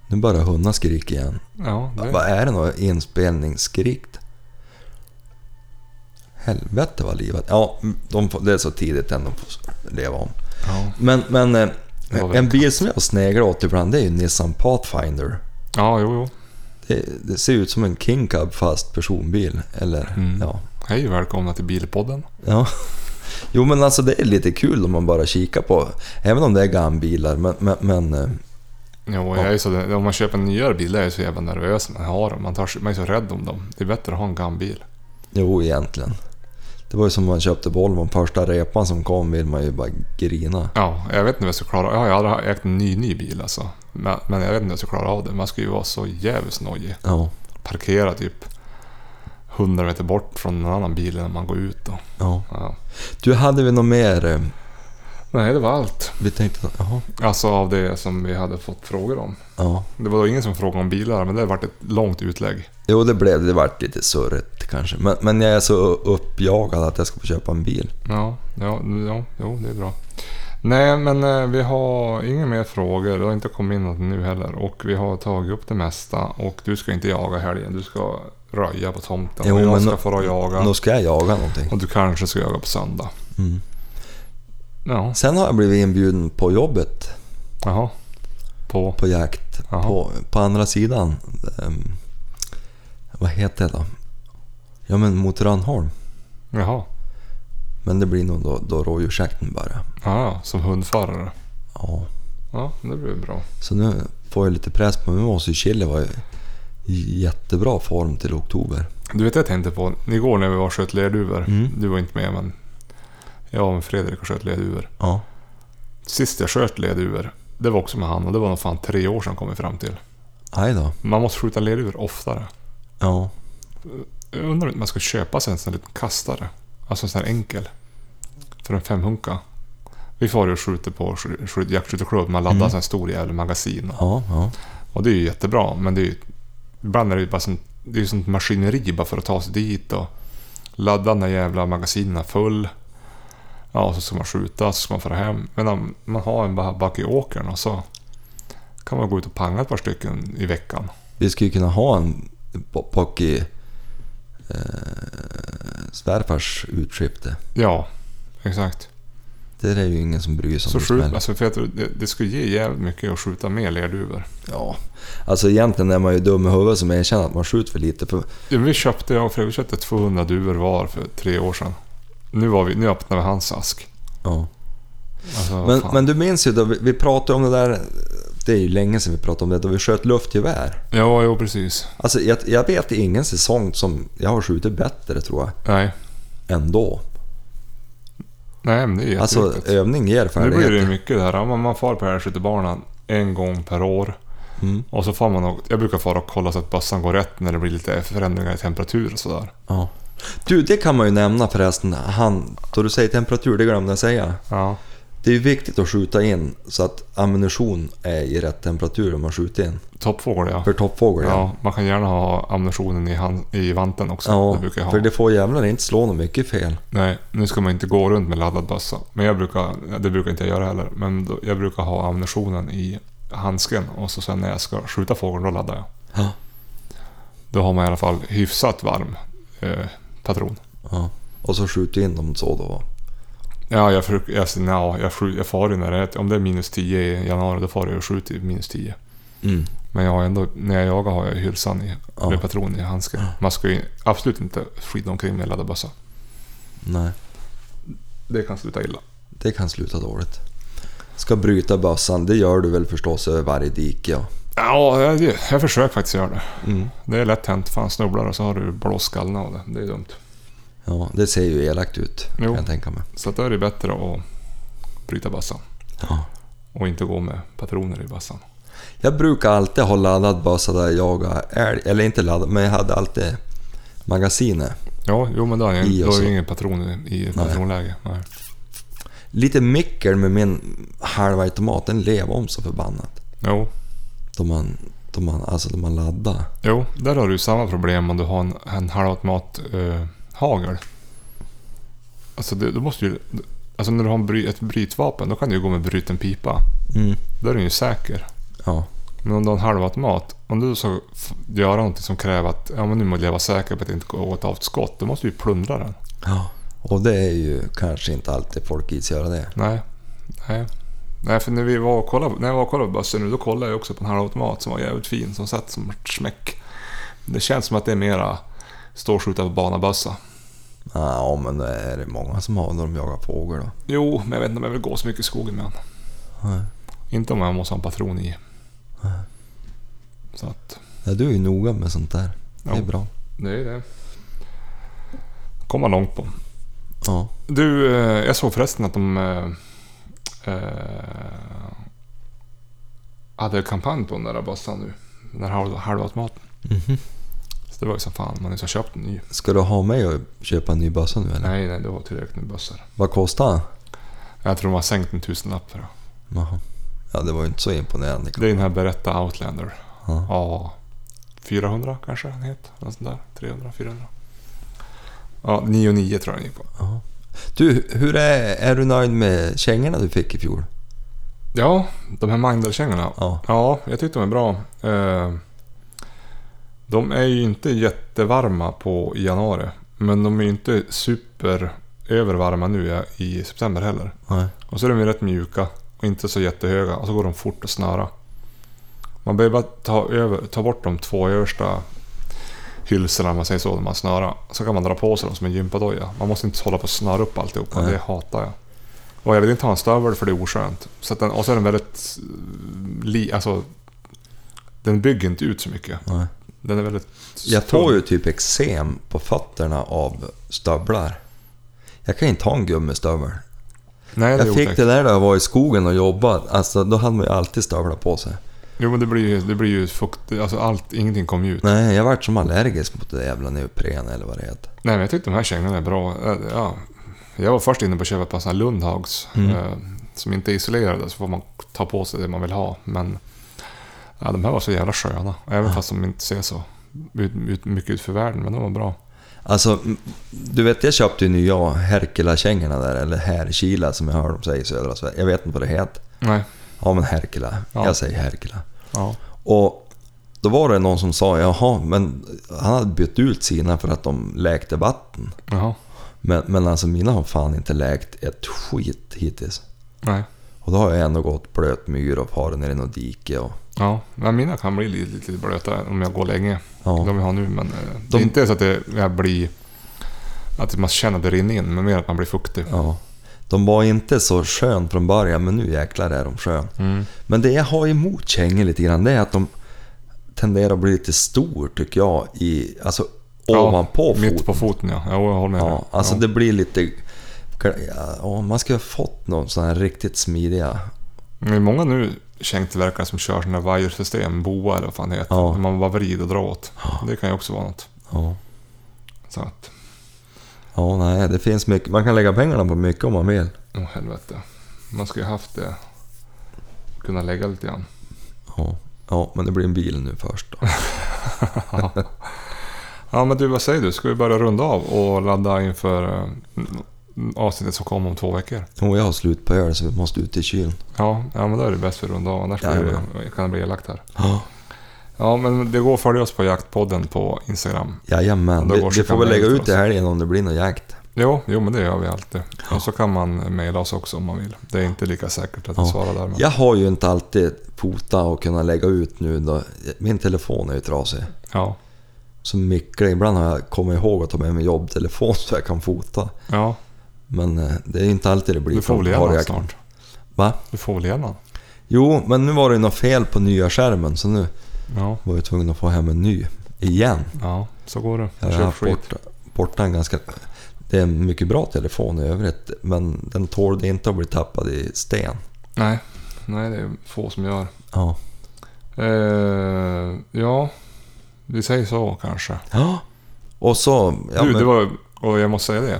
[SPEAKER 2] Nu börjar hundarna skrika igen.
[SPEAKER 1] Ja, det
[SPEAKER 2] Vad är det något inspelningsskrikt? Helvete vad livet... Ja, mm, de får, det är så tidigt än de får leva om.
[SPEAKER 1] ja.
[SPEAKER 2] Men, men eh,
[SPEAKER 1] Det var väl
[SPEAKER 2] en bil som jag sneglar åt ibland det är ju Nissan Pathfinder.
[SPEAKER 1] ja, jo, jo.
[SPEAKER 2] Det, det ser ut som en King Cab fast personbil. Eller,
[SPEAKER 1] Mm.
[SPEAKER 2] ja.
[SPEAKER 1] Hej och välkomna till Bilpodden.
[SPEAKER 2] ja. Jo men alltså det är lite kul om man bara kikar på, även om det är gambilar, men, men, men eh,
[SPEAKER 1] Jo, jag är så, om man köper en nyare bil jag är jag så jävla nervös när jag har dem. Man, tar, man är så rädd om dem. Det är bättre att ha en gammal bil.
[SPEAKER 2] Jo, egentligen. Det var ju som man köpte Volvon. Första repan som kom vill man ju bara grina.
[SPEAKER 1] Ja, jag vet inte om jag ska klara Jag har ju aldrig ägt en ny, ny bil alltså. Men, men jag vet inte om jag ska klara av det. Man ska ju vara så jävligt nojig.
[SPEAKER 2] Ja,
[SPEAKER 1] Parkera typ 100 meter bort från en annan bil när man går ut. Då.
[SPEAKER 2] ja.
[SPEAKER 1] Ja.
[SPEAKER 2] Du, hade vi något mer? eh,
[SPEAKER 1] Nej, det var allt.
[SPEAKER 2] Vi tänkte... Jaha.
[SPEAKER 1] Alltså av det som vi hade fått frågor om.
[SPEAKER 2] Ja.
[SPEAKER 1] Det var då ingen som frågade om bilar, men det vart ett långt utlägg.
[SPEAKER 2] Jo, det blev det. Det vart lite surrigt kanske. Men, men jag är så uppjagad att jag ska få köpa en bil.
[SPEAKER 1] Ja, ja, ja jo, det är bra. Nej, men eh, vi har inga mer frågor. Det har inte kommit in något nu heller. Och vi har tagit upp det mesta. Och du ska inte jaga i helgen. Du ska röja på tomten.
[SPEAKER 2] Jo,
[SPEAKER 1] och jag
[SPEAKER 2] men
[SPEAKER 1] ska
[SPEAKER 2] nå-
[SPEAKER 1] få jaga.
[SPEAKER 2] Nu ska jag jaga någonting.
[SPEAKER 1] Och du kanske ska jaga på söndag.
[SPEAKER 2] Mm.
[SPEAKER 1] Ja,
[SPEAKER 2] Sen har jag blivit inbjuden på jobbet
[SPEAKER 1] jaha. På?
[SPEAKER 2] på jakt.
[SPEAKER 1] Jaha.
[SPEAKER 2] På, på andra sidan. ehm, vad heter det då? Ja, men mot Rönnholm.
[SPEAKER 1] Jaha.
[SPEAKER 2] Men det blir nog då, då rådjursjakten bara.
[SPEAKER 1] Ja, ja, som hundförare.
[SPEAKER 2] Ja.
[SPEAKER 1] Ja, det blir bra.
[SPEAKER 2] Så nu får jag lite press på mig. Nu måste ju Chile vara i jättebra form till oktober.
[SPEAKER 1] Du vet, jag tänkte på igår när vi var och sköt lerduvor.
[SPEAKER 2] Mm.
[SPEAKER 1] Du var inte med, men jag och Fredrik och sköt lerduvor.
[SPEAKER 2] Ja.
[SPEAKER 1] Sist jag sköt lerduvor, det var också med han och det var nog fan tre år sedan kom vi fram till.
[SPEAKER 2] Aj då.
[SPEAKER 1] Man måste skjuta lerduvor oftare.
[SPEAKER 2] Ja.
[SPEAKER 1] Jag undrar om man ska köpa sig en sån här liten kastare. Alltså en sån här enkel. För en femhunka. Vi får ju och skjuter på sk- sk- jaktskytteklubb. Man laddar
[SPEAKER 2] Mm.
[SPEAKER 1] mm. en stor jävla magasin.
[SPEAKER 2] Ja, ja.
[SPEAKER 1] Och det är ju jättebra, men det är ju... Ibland är det ju bara sånt, det är ju sånt maskineri bara för att ta sig dit och ladda den där jävla magasinerna full. Ja, och så ska man skjuta, så ska man föra hem. Men om man har en bara back i åkern och så kan man gå ut och panga ett par stycken i veckan.
[SPEAKER 2] Vi skulle kunna ha en po- Pocky eh, svärfars utskifte.
[SPEAKER 1] Ja, exakt.
[SPEAKER 2] Det är ju ingen som bryr sig
[SPEAKER 1] Så
[SPEAKER 2] om. det som
[SPEAKER 1] skjut,
[SPEAKER 2] helst.
[SPEAKER 1] alltså för jag tror det, det skulle ge jävligt mycket att skjuta med lerduvor.
[SPEAKER 2] Ja. Alltså egentligen är man ju dum i huvudet som erkänner att man skjuter för lite. För,
[SPEAKER 1] Ja, men vi köpte, jag och Fredrik köpte 200 duvor var för tre år sedan. Nu, var vi, nu öppnade vi hans ask.
[SPEAKER 2] ja.
[SPEAKER 1] Alltså, vad
[SPEAKER 2] men,
[SPEAKER 1] fan.
[SPEAKER 2] men du minns ju då, vi, vi pratade om det där, det är ju länge sedan vi pratade om det, då vi sköt luftgevär.
[SPEAKER 1] Ja, jo precis.
[SPEAKER 2] Alltså jag, jag vet ingen säsong som jag har skjutit bättre tror jag,
[SPEAKER 1] Nej.
[SPEAKER 2] än då.
[SPEAKER 1] Nej, men det är jätteviktigt.
[SPEAKER 2] Alltså övning ger
[SPEAKER 1] nu blir det ju
[SPEAKER 2] färdigheter.
[SPEAKER 1] mycket det här. Ja, men Man far på älgskyttebanan en gång per år.
[SPEAKER 2] Mm.
[SPEAKER 1] Och så får man och, Jag brukar fara och kolla så att bössan går rätt när det blir lite förändringar i temperatur och sådär.
[SPEAKER 2] Ja. Du, det kan man ju nämna förresten, han, då du säger temperatur, det glömde jag säga.
[SPEAKER 1] Ja.
[SPEAKER 2] Det är ju viktigt att skjuta in så att ammunition är i rätt temperatur om man skjuter in.
[SPEAKER 1] Toppfågel ja.
[SPEAKER 2] För toppfågel ja.
[SPEAKER 1] ja. Man kan gärna ha ammunitionen i, hand, i vanten också.
[SPEAKER 2] Ja,
[SPEAKER 1] det brukar jag ha.
[SPEAKER 2] för det får jävlar inte slå något mycket fel.
[SPEAKER 1] Nej, nu ska man inte gå runt med laddad bössa. Men jag brukar, det brukar inte jag göra heller, men då, jag brukar ha ammunitionen i handsken och så sen när jag ska skjuta fågeln då laddar jag.
[SPEAKER 2] Ja.
[SPEAKER 1] Då har man i alla fall hyfsat varm eh, patron.
[SPEAKER 2] Ja. Och så skjuter in dem så då.
[SPEAKER 1] Ja, jag, försöker- jag, jag, jag, jag, skjut- jag far ju när det är, om det är minus 10 i januari, då far jag och skjuter i minus 10.
[SPEAKER 2] Mm.
[SPEAKER 1] Men jag har ändå, när jag jagar har jag hylsan i,
[SPEAKER 2] Ja.
[SPEAKER 1] med patron i handsken. Man ska ju absolut inte skida omkring med laddad bössa.
[SPEAKER 2] Nej,
[SPEAKER 1] Det kan sluta illa.
[SPEAKER 2] det kan sluta dåligt. Ska bryta bössan, det gör du väl förstås över varje dike? Ja.
[SPEAKER 1] Ja, jag, jag försöker faktiskt göra det.
[SPEAKER 2] Mm.
[SPEAKER 1] Det är lätt hänt. Fan snubblar och så har du blåst skallen av det. Det är dumt.
[SPEAKER 2] ja, det ser ju elakt ut kan
[SPEAKER 1] Jo.
[SPEAKER 2] jag tänka mig.
[SPEAKER 1] Så att då är det bättre att bryta bassan
[SPEAKER 2] Ja.
[SPEAKER 1] och inte gå med patroner i bassan.
[SPEAKER 2] Jag brukar alltid ha laddad bössa där jag jagar älg, eller inte laddad, men jag hade alltid magasinet.
[SPEAKER 1] Ja, jo men då är
[SPEAKER 2] I
[SPEAKER 1] det
[SPEAKER 2] och
[SPEAKER 1] då är
[SPEAKER 2] så.
[SPEAKER 1] ju ingen patron i- i patronläge. alltså. Nej.
[SPEAKER 2] Lite mickel med min halva automat, den lever om så förbannat.
[SPEAKER 1] Jo.
[SPEAKER 2] Då man, då man, alltså då man laddar.
[SPEAKER 1] jo, där har du ju samma problem om du har en, en halvautomat eh, hagel. Alltså det, du måste ju... Alltså när du har en bry, ett brytvapen då kan du ju gå med bruten pipa.
[SPEAKER 2] Mm.
[SPEAKER 1] Då är du ju säker.
[SPEAKER 2] Ja.
[SPEAKER 1] Men om du har en halvautomat, om du ska f- göra någonting som kräver att ja, men nu måste jag vara säker på att det inte går åt av ett skott, då måste du ju plundra den.
[SPEAKER 2] ja. Och det är ju kanske inte alltid folk gills göra det.
[SPEAKER 1] Nej. Nej. Nej, för när, vi var och kollade, när jag var och kollade på bussen nu, då kollade jag också på en halvautomat som var jävligt fin, som satt som ett smäck. Det känns som att det är mera stå och skjuta på banabössa.
[SPEAKER 2] Ja, men det är det många som har när de jagar fågel då.
[SPEAKER 1] Jo, men jag vet inte om jag vill gå så mycket i skogen med han.
[SPEAKER 2] Nej.
[SPEAKER 1] Inte om jag måste ha en patron i. Så att,
[SPEAKER 2] Ja, du är ju noga med sånt där. Det är
[SPEAKER 1] Ja.
[SPEAKER 2] bra.
[SPEAKER 1] det är det. Komma långt på.
[SPEAKER 2] Ja.
[SPEAKER 1] Du, eh, jag såg förresten att de eh, eh, hade kampanj på den där bössan nu. Den där halv- halvautomaten.
[SPEAKER 2] Mhm.
[SPEAKER 1] Så det var ju som fan, man har ju köpt en ny.
[SPEAKER 2] Ska du ha mig och köpa en ny bössa nu eller?
[SPEAKER 1] Nej, nej, det var tillräckligt med bössor.
[SPEAKER 2] Vad kostar den?
[SPEAKER 1] Jag tror de har sänkt en tusenlapp för det.
[SPEAKER 2] Jaha. Ja, det var ju inte så imponerande.
[SPEAKER 1] Det är den här Beretta Outlander.
[SPEAKER 2] Ja.
[SPEAKER 1] Ja, 400 kanske den heter. Något sånt där. 300, 400. Ja, 9 och 9 tror jag den gick på.
[SPEAKER 2] Ja. Du, hur är, är du nöjd med kängorna du fick i fjol?
[SPEAKER 1] Ja, de här Magdalkängorna.
[SPEAKER 2] Ja.
[SPEAKER 1] Ja, jag tyckte de är bra. Eh, De är ju inte jättevarma på i januari. Men de är ju inte super övervarma nu ja, i september heller.
[SPEAKER 2] Nej.
[SPEAKER 1] Och så är de ju rätt mjuka och inte så jättehöga. Och så går de fort att snöra. Man behöver bara ta, över, ta bort de två översta hylsorna, om man säger så, när man snörar. Så kan man dra på sig dem som en gympadoja. Man måste inte hålla på och snöra upp alltihopa.
[SPEAKER 2] Nej.
[SPEAKER 1] Det hatar jag. Och jag vill inte ha en stövel för det är oskönt. Så att den, och så är den väldigt... eh, Li, alltså, den bygger inte ut så mycket.
[SPEAKER 2] Nej.
[SPEAKER 1] Den är väldigt...
[SPEAKER 2] Jag
[SPEAKER 1] tunn.
[SPEAKER 2] får ju typ eksem på fötterna av stövlar. Jag kan inte ha en gummistövel.
[SPEAKER 1] Nej, det är
[SPEAKER 2] Jag fick
[SPEAKER 1] otäckt.
[SPEAKER 2] det där när jag var i skogen och jobbade. Alltså, då hade man ju alltid stövlar på sig.
[SPEAKER 1] Jo, men det blir ju, det blir ju fukt... Alltså allt, ingenting kommer ju ut.
[SPEAKER 2] Nej, jag vart som allergisk mot det jävla neopren eller vad det heter.
[SPEAKER 1] Nej, men jag tyckte de här kängorna är bra. Eh, Ja, jag var först inne på att köpa ett par såna här Lundhags.
[SPEAKER 2] Mm.
[SPEAKER 1] Eh, som inte är isolerade, så får man ta på sig det man vill ha. Men ja, de här var så jävla sköna. Även fast de inte ser så ut, ut, mycket ut för världen. Men de var bra.
[SPEAKER 2] Alltså, m- du vet jag köpte ju nya Herkula-kängorna där, eller Härkila som jag hör dem säga i södra Sverige. Jag vet inte vad det heter.
[SPEAKER 1] Nej.
[SPEAKER 2] Ja men Herkula,
[SPEAKER 1] Ja.
[SPEAKER 2] jag säger Herkula.
[SPEAKER 1] Ja.
[SPEAKER 2] Och då var det någon som sa, jaha, men han hade bytt ut sina för att de läkte vatten.
[SPEAKER 1] Jaha.
[SPEAKER 2] Men, men alltså mina har fan inte läkt ett skit hittills.
[SPEAKER 1] Nej.
[SPEAKER 2] Och då har jag ändå gått blöt myr och farit ner i något dike och...
[SPEAKER 1] Ja, men mina kan bli lite, lite blöta om jag går länge.
[SPEAKER 2] Ja.
[SPEAKER 1] De jag har nu, men eh, det
[SPEAKER 2] De-
[SPEAKER 1] är inte så att det, jag blir... Att man känner att det rinner in, men mer att man blir fuktig.
[SPEAKER 2] ja. De var inte så skön från början, men nu jäklar är de skön.
[SPEAKER 1] Mm.
[SPEAKER 2] Men det jag har emot kängor lite grann, det är att de tenderar att bli lite stor tycker jag. I, alltså
[SPEAKER 1] Ja,
[SPEAKER 2] ovanpå foten.
[SPEAKER 1] Mitt på foten, ja. Jo, jag håller med.
[SPEAKER 2] Ja,
[SPEAKER 1] dig.
[SPEAKER 2] alltså
[SPEAKER 1] ja.
[SPEAKER 2] det blir lite... Ja, man skulle ha fått någon sån här riktigt smidiga...
[SPEAKER 1] Men Det är många nu kängtillverkare som kör sådana vajersystem, boa eller vad fan det heter.
[SPEAKER 2] Ja.
[SPEAKER 1] Där man bara vrider och drar åt. Det kan ju också vara något.
[SPEAKER 2] Ja.
[SPEAKER 1] Så att,
[SPEAKER 2] ja, nej, det finns mycket. Man kan lägga pengarna på mycket om man vill.
[SPEAKER 1] åh helvete. Man ska ju haft det. Kunna lägga lite grann.
[SPEAKER 2] Ja, ja men det blir en bil nu först då.
[SPEAKER 1] Ja men du, vad säger du? Ska vi börja runda av och ladda inför eh, avsnittet som kommer om två veckor?
[SPEAKER 2] Och jag har slut på öl så vi måste ut i kylen.
[SPEAKER 1] Ja, ja men då är det bäst vi rundar av. Annars blir det,
[SPEAKER 2] Jajamän.
[SPEAKER 1] kan det bli elakt här.
[SPEAKER 2] Ja,
[SPEAKER 1] Ja men det går att följa oss på Jaktpodden på Instagram.
[SPEAKER 2] jajamän,
[SPEAKER 1] Då
[SPEAKER 2] vi,
[SPEAKER 1] går
[SPEAKER 2] vi får
[SPEAKER 1] Chicago
[SPEAKER 2] väl lägga
[SPEAKER 1] ut
[SPEAKER 2] ut
[SPEAKER 1] alltså.
[SPEAKER 2] det här igen om det blir någon jakt.
[SPEAKER 1] Jo, jo men det gör vi alltid. Och så kan man mejla oss också om man vill. Det är inte lika säkert att vi
[SPEAKER 2] Ja.
[SPEAKER 1] svarar där. Men...
[SPEAKER 2] Jag har ju inte alltid fota och kunna lägga ut nu då. Min telefon är ju trasig.
[SPEAKER 1] Ja.
[SPEAKER 2] Så mycket, ibland har jag kommit ihåg att ta med mig jobbtelefon så jag kan fota.
[SPEAKER 1] ja.
[SPEAKER 2] Men eh, det är ju inte alltid det blir
[SPEAKER 1] Du får väl
[SPEAKER 2] från
[SPEAKER 1] igen
[SPEAKER 2] var
[SPEAKER 1] honom
[SPEAKER 2] jag-
[SPEAKER 1] snart.
[SPEAKER 2] Va?
[SPEAKER 1] Du får väl igen honom.
[SPEAKER 2] Jo, men nu var det ju något fel på nya skärmen så nu
[SPEAKER 1] Ja,
[SPEAKER 2] var jag tvungen att få hem en ny. Igen.
[SPEAKER 1] ja, så går det.
[SPEAKER 2] Jag har
[SPEAKER 1] Köp
[SPEAKER 2] haft
[SPEAKER 1] skit.
[SPEAKER 2] borta, borta en ganska... Det är en mycket bra telefon i övrigt men den tålde inte att bli tappad i sten.
[SPEAKER 1] Nej, nej, det är få som gör.
[SPEAKER 2] Ja.
[SPEAKER 1] Eh, ja, vi säger så kanske.
[SPEAKER 2] Ja. Och så... Ja,
[SPEAKER 1] du,
[SPEAKER 2] men,
[SPEAKER 1] det var, och jag måste säga det.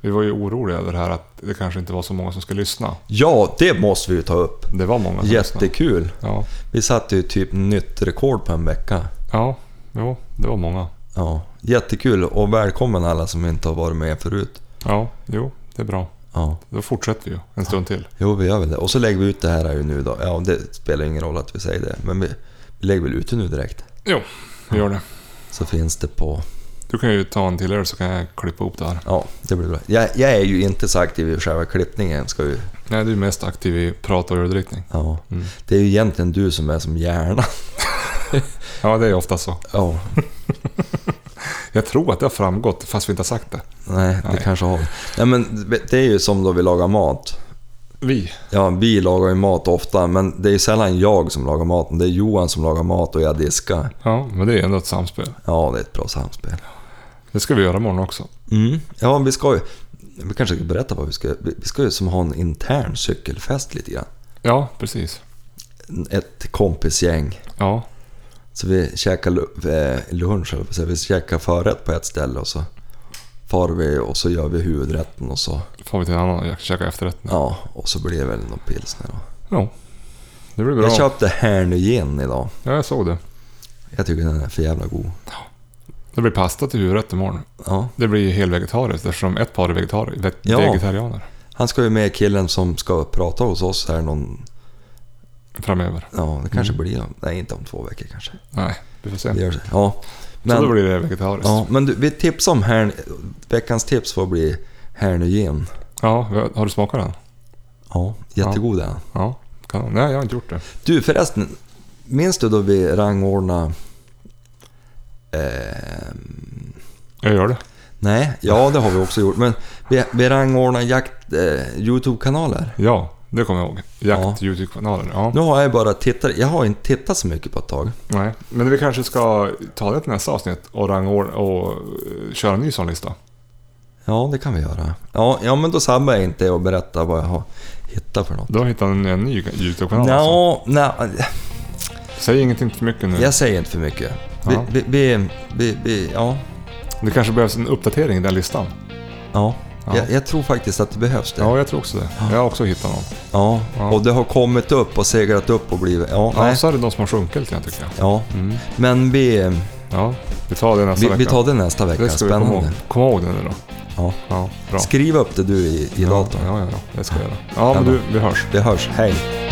[SPEAKER 1] Vi var ju oroliga över det här att det kanske inte var så många som skulle lyssna.
[SPEAKER 2] ja, det måste vi ju ta upp.
[SPEAKER 1] Det var många som lyssnade.
[SPEAKER 2] Jättekul.
[SPEAKER 1] Ja,
[SPEAKER 2] Vi satte ju typ nytt rekord på en vecka.
[SPEAKER 1] ja, jo, det var många.
[SPEAKER 2] Ja, jättekul och välkommen alla som inte har varit med förut.
[SPEAKER 1] Ja, jo, det är bra.
[SPEAKER 2] Ja,
[SPEAKER 1] Då fortsätter vi ju en stund till.
[SPEAKER 2] jo vi gör väl det. Och så lägger vi ut det här ju nu då. Ja, det spelar ingen roll att vi säger det, men vi, vi lägger väl ut det nu direkt.
[SPEAKER 1] Jo, vi gör det.
[SPEAKER 2] Så finns det på...
[SPEAKER 1] Du kan ju ta en till er så kan jag klippa ihop det här.
[SPEAKER 2] Ja, det blir bra. Jag, jag är ju inte så aktiv i själva klippningen, ska ju...
[SPEAKER 1] Nej, du är mest aktiv i prat och öldrickning.
[SPEAKER 2] Ja.
[SPEAKER 1] Mm.
[SPEAKER 2] Det är ju egentligen du som är som hjärnan.
[SPEAKER 1] Ja, det är ofta så.
[SPEAKER 2] Ja,
[SPEAKER 1] Jag tror att det har framgått fast vi inte har sagt det.
[SPEAKER 2] nej, det
[SPEAKER 1] Nej.
[SPEAKER 2] kanske har... Nej men det är ju som då vi lagar mat.
[SPEAKER 1] Vi.
[SPEAKER 2] Ja, vi lagar ju mat ofta, men det är ju sällan jag som lagar maten. Det är Johan som lagar mat och jag diskar.
[SPEAKER 1] Ja, men det är ändå ett samspel.
[SPEAKER 2] Ja, det är ett bra samspel.
[SPEAKER 1] Det ska vi göra imorgon också.
[SPEAKER 2] Mm. Ja, vi ska ju... Vi kanske ska berätta vad vi ska... Vi vi ska ju som ha en intern cykelfest lite grann.
[SPEAKER 1] Ja, precis.
[SPEAKER 2] Ett kompisgäng.
[SPEAKER 1] Ja,
[SPEAKER 2] Så vi käkar lu- eh, lunch, eller så vi käkar förrätt på ett ställe och så far vi och så gör vi huvudrätten och så...
[SPEAKER 1] får vi till en annan. Jag ska käka efterrätt nu.
[SPEAKER 2] Ja, och så blir det väl någon pilsner då.
[SPEAKER 1] Ja. Det blir bra.
[SPEAKER 2] Jag köpte Härnö gin idag.
[SPEAKER 1] Ja, jag såg det.
[SPEAKER 2] Jag tycker den är för jävla god.
[SPEAKER 1] Det blir pasta till huvudrätt imorgon.
[SPEAKER 2] Ja.
[SPEAKER 1] Det blir helvegetariskt eftersom ett par är vegetari- ve-
[SPEAKER 2] Ja.
[SPEAKER 1] vegetarianer
[SPEAKER 2] Han ska ju med killen som ska prata hos oss här någon...
[SPEAKER 1] framöver.
[SPEAKER 2] Ja, det kanske
[SPEAKER 1] Mm.
[SPEAKER 2] blir om... Nej, inte om två veckor kanske.
[SPEAKER 1] Nej, vi får se.
[SPEAKER 2] Det gör det. Ja.
[SPEAKER 1] Så då
[SPEAKER 2] Men,
[SPEAKER 1] blir det vegetariskt.
[SPEAKER 2] ja,
[SPEAKER 1] Ja.
[SPEAKER 2] men du, vi tipsar om här... Veckans tips får bli Härnö gin.
[SPEAKER 1] har du smakat den?
[SPEAKER 2] Ja, jättegod är den.
[SPEAKER 1] Ja. Kan. Nej, jag har inte gjort det.
[SPEAKER 2] Du förresten, minns du då vi rangordnade... ehm,
[SPEAKER 1] Jag gör det.
[SPEAKER 2] nej, ja det har vi också gjort. Men vi, vi rangordnade jakt... Eh, Youtube-kanaler.
[SPEAKER 1] Ja, det kommer jag ihåg. Jakt,
[SPEAKER 2] Ja.
[SPEAKER 1] Youtube-kanaler. Ja.
[SPEAKER 2] Nu har jag bara tittat. Jag har inte tittat så mycket på ett tag.
[SPEAKER 1] Nej, men vi kanske ska ta det till nästa avsnitt och rangordna och eh, köra en ny sån lista.
[SPEAKER 2] Ja, det kan vi göra. Ja, ja men då sabbar jag inte och berättar vad jag har hittat för något.
[SPEAKER 1] Då hittar ni en ny Youtube-kanal. alltså.
[SPEAKER 2] Nå, nej,
[SPEAKER 1] Säg ingenting för mycket nu.
[SPEAKER 2] jag säger inte för mycket. Vi,
[SPEAKER 1] Ja.
[SPEAKER 2] vi, vi, vi, vi ja.
[SPEAKER 1] Det kanske behövs en uppdatering i den listan.
[SPEAKER 2] ja.
[SPEAKER 1] Ja.
[SPEAKER 2] Jag, jag tror faktiskt att det behövs det. Ja.
[SPEAKER 1] Ja, jag tror också det. Jag har också hittat någon. Ja.
[SPEAKER 2] Och det har kommit upp och segrat upp och blivit... Ja,
[SPEAKER 1] Ja,
[SPEAKER 2] nej.
[SPEAKER 1] så är det de som har sjunkit lite grann tycker jag.
[SPEAKER 2] Ja. Men vi,
[SPEAKER 1] Ja, vi tar det nästa
[SPEAKER 2] vi,
[SPEAKER 1] vecka.
[SPEAKER 2] vi tar det nästa vecka.
[SPEAKER 1] det ska vi komma ihåg.
[SPEAKER 2] Spännande.
[SPEAKER 1] Kom ihåg det nu då.
[SPEAKER 2] Ja.
[SPEAKER 1] Ja, bra.
[SPEAKER 2] Skriv upp det du i, i
[SPEAKER 1] ja,
[SPEAKER 2] datorn.
[SPEAKER 1] ja, ja, ja, det ska jag göra. Ja, men
[SPEAKER 2] Ja,
[SPEAKER 1] du, vi hörs.
[SPEAKER 2] Vi hörs. Hej.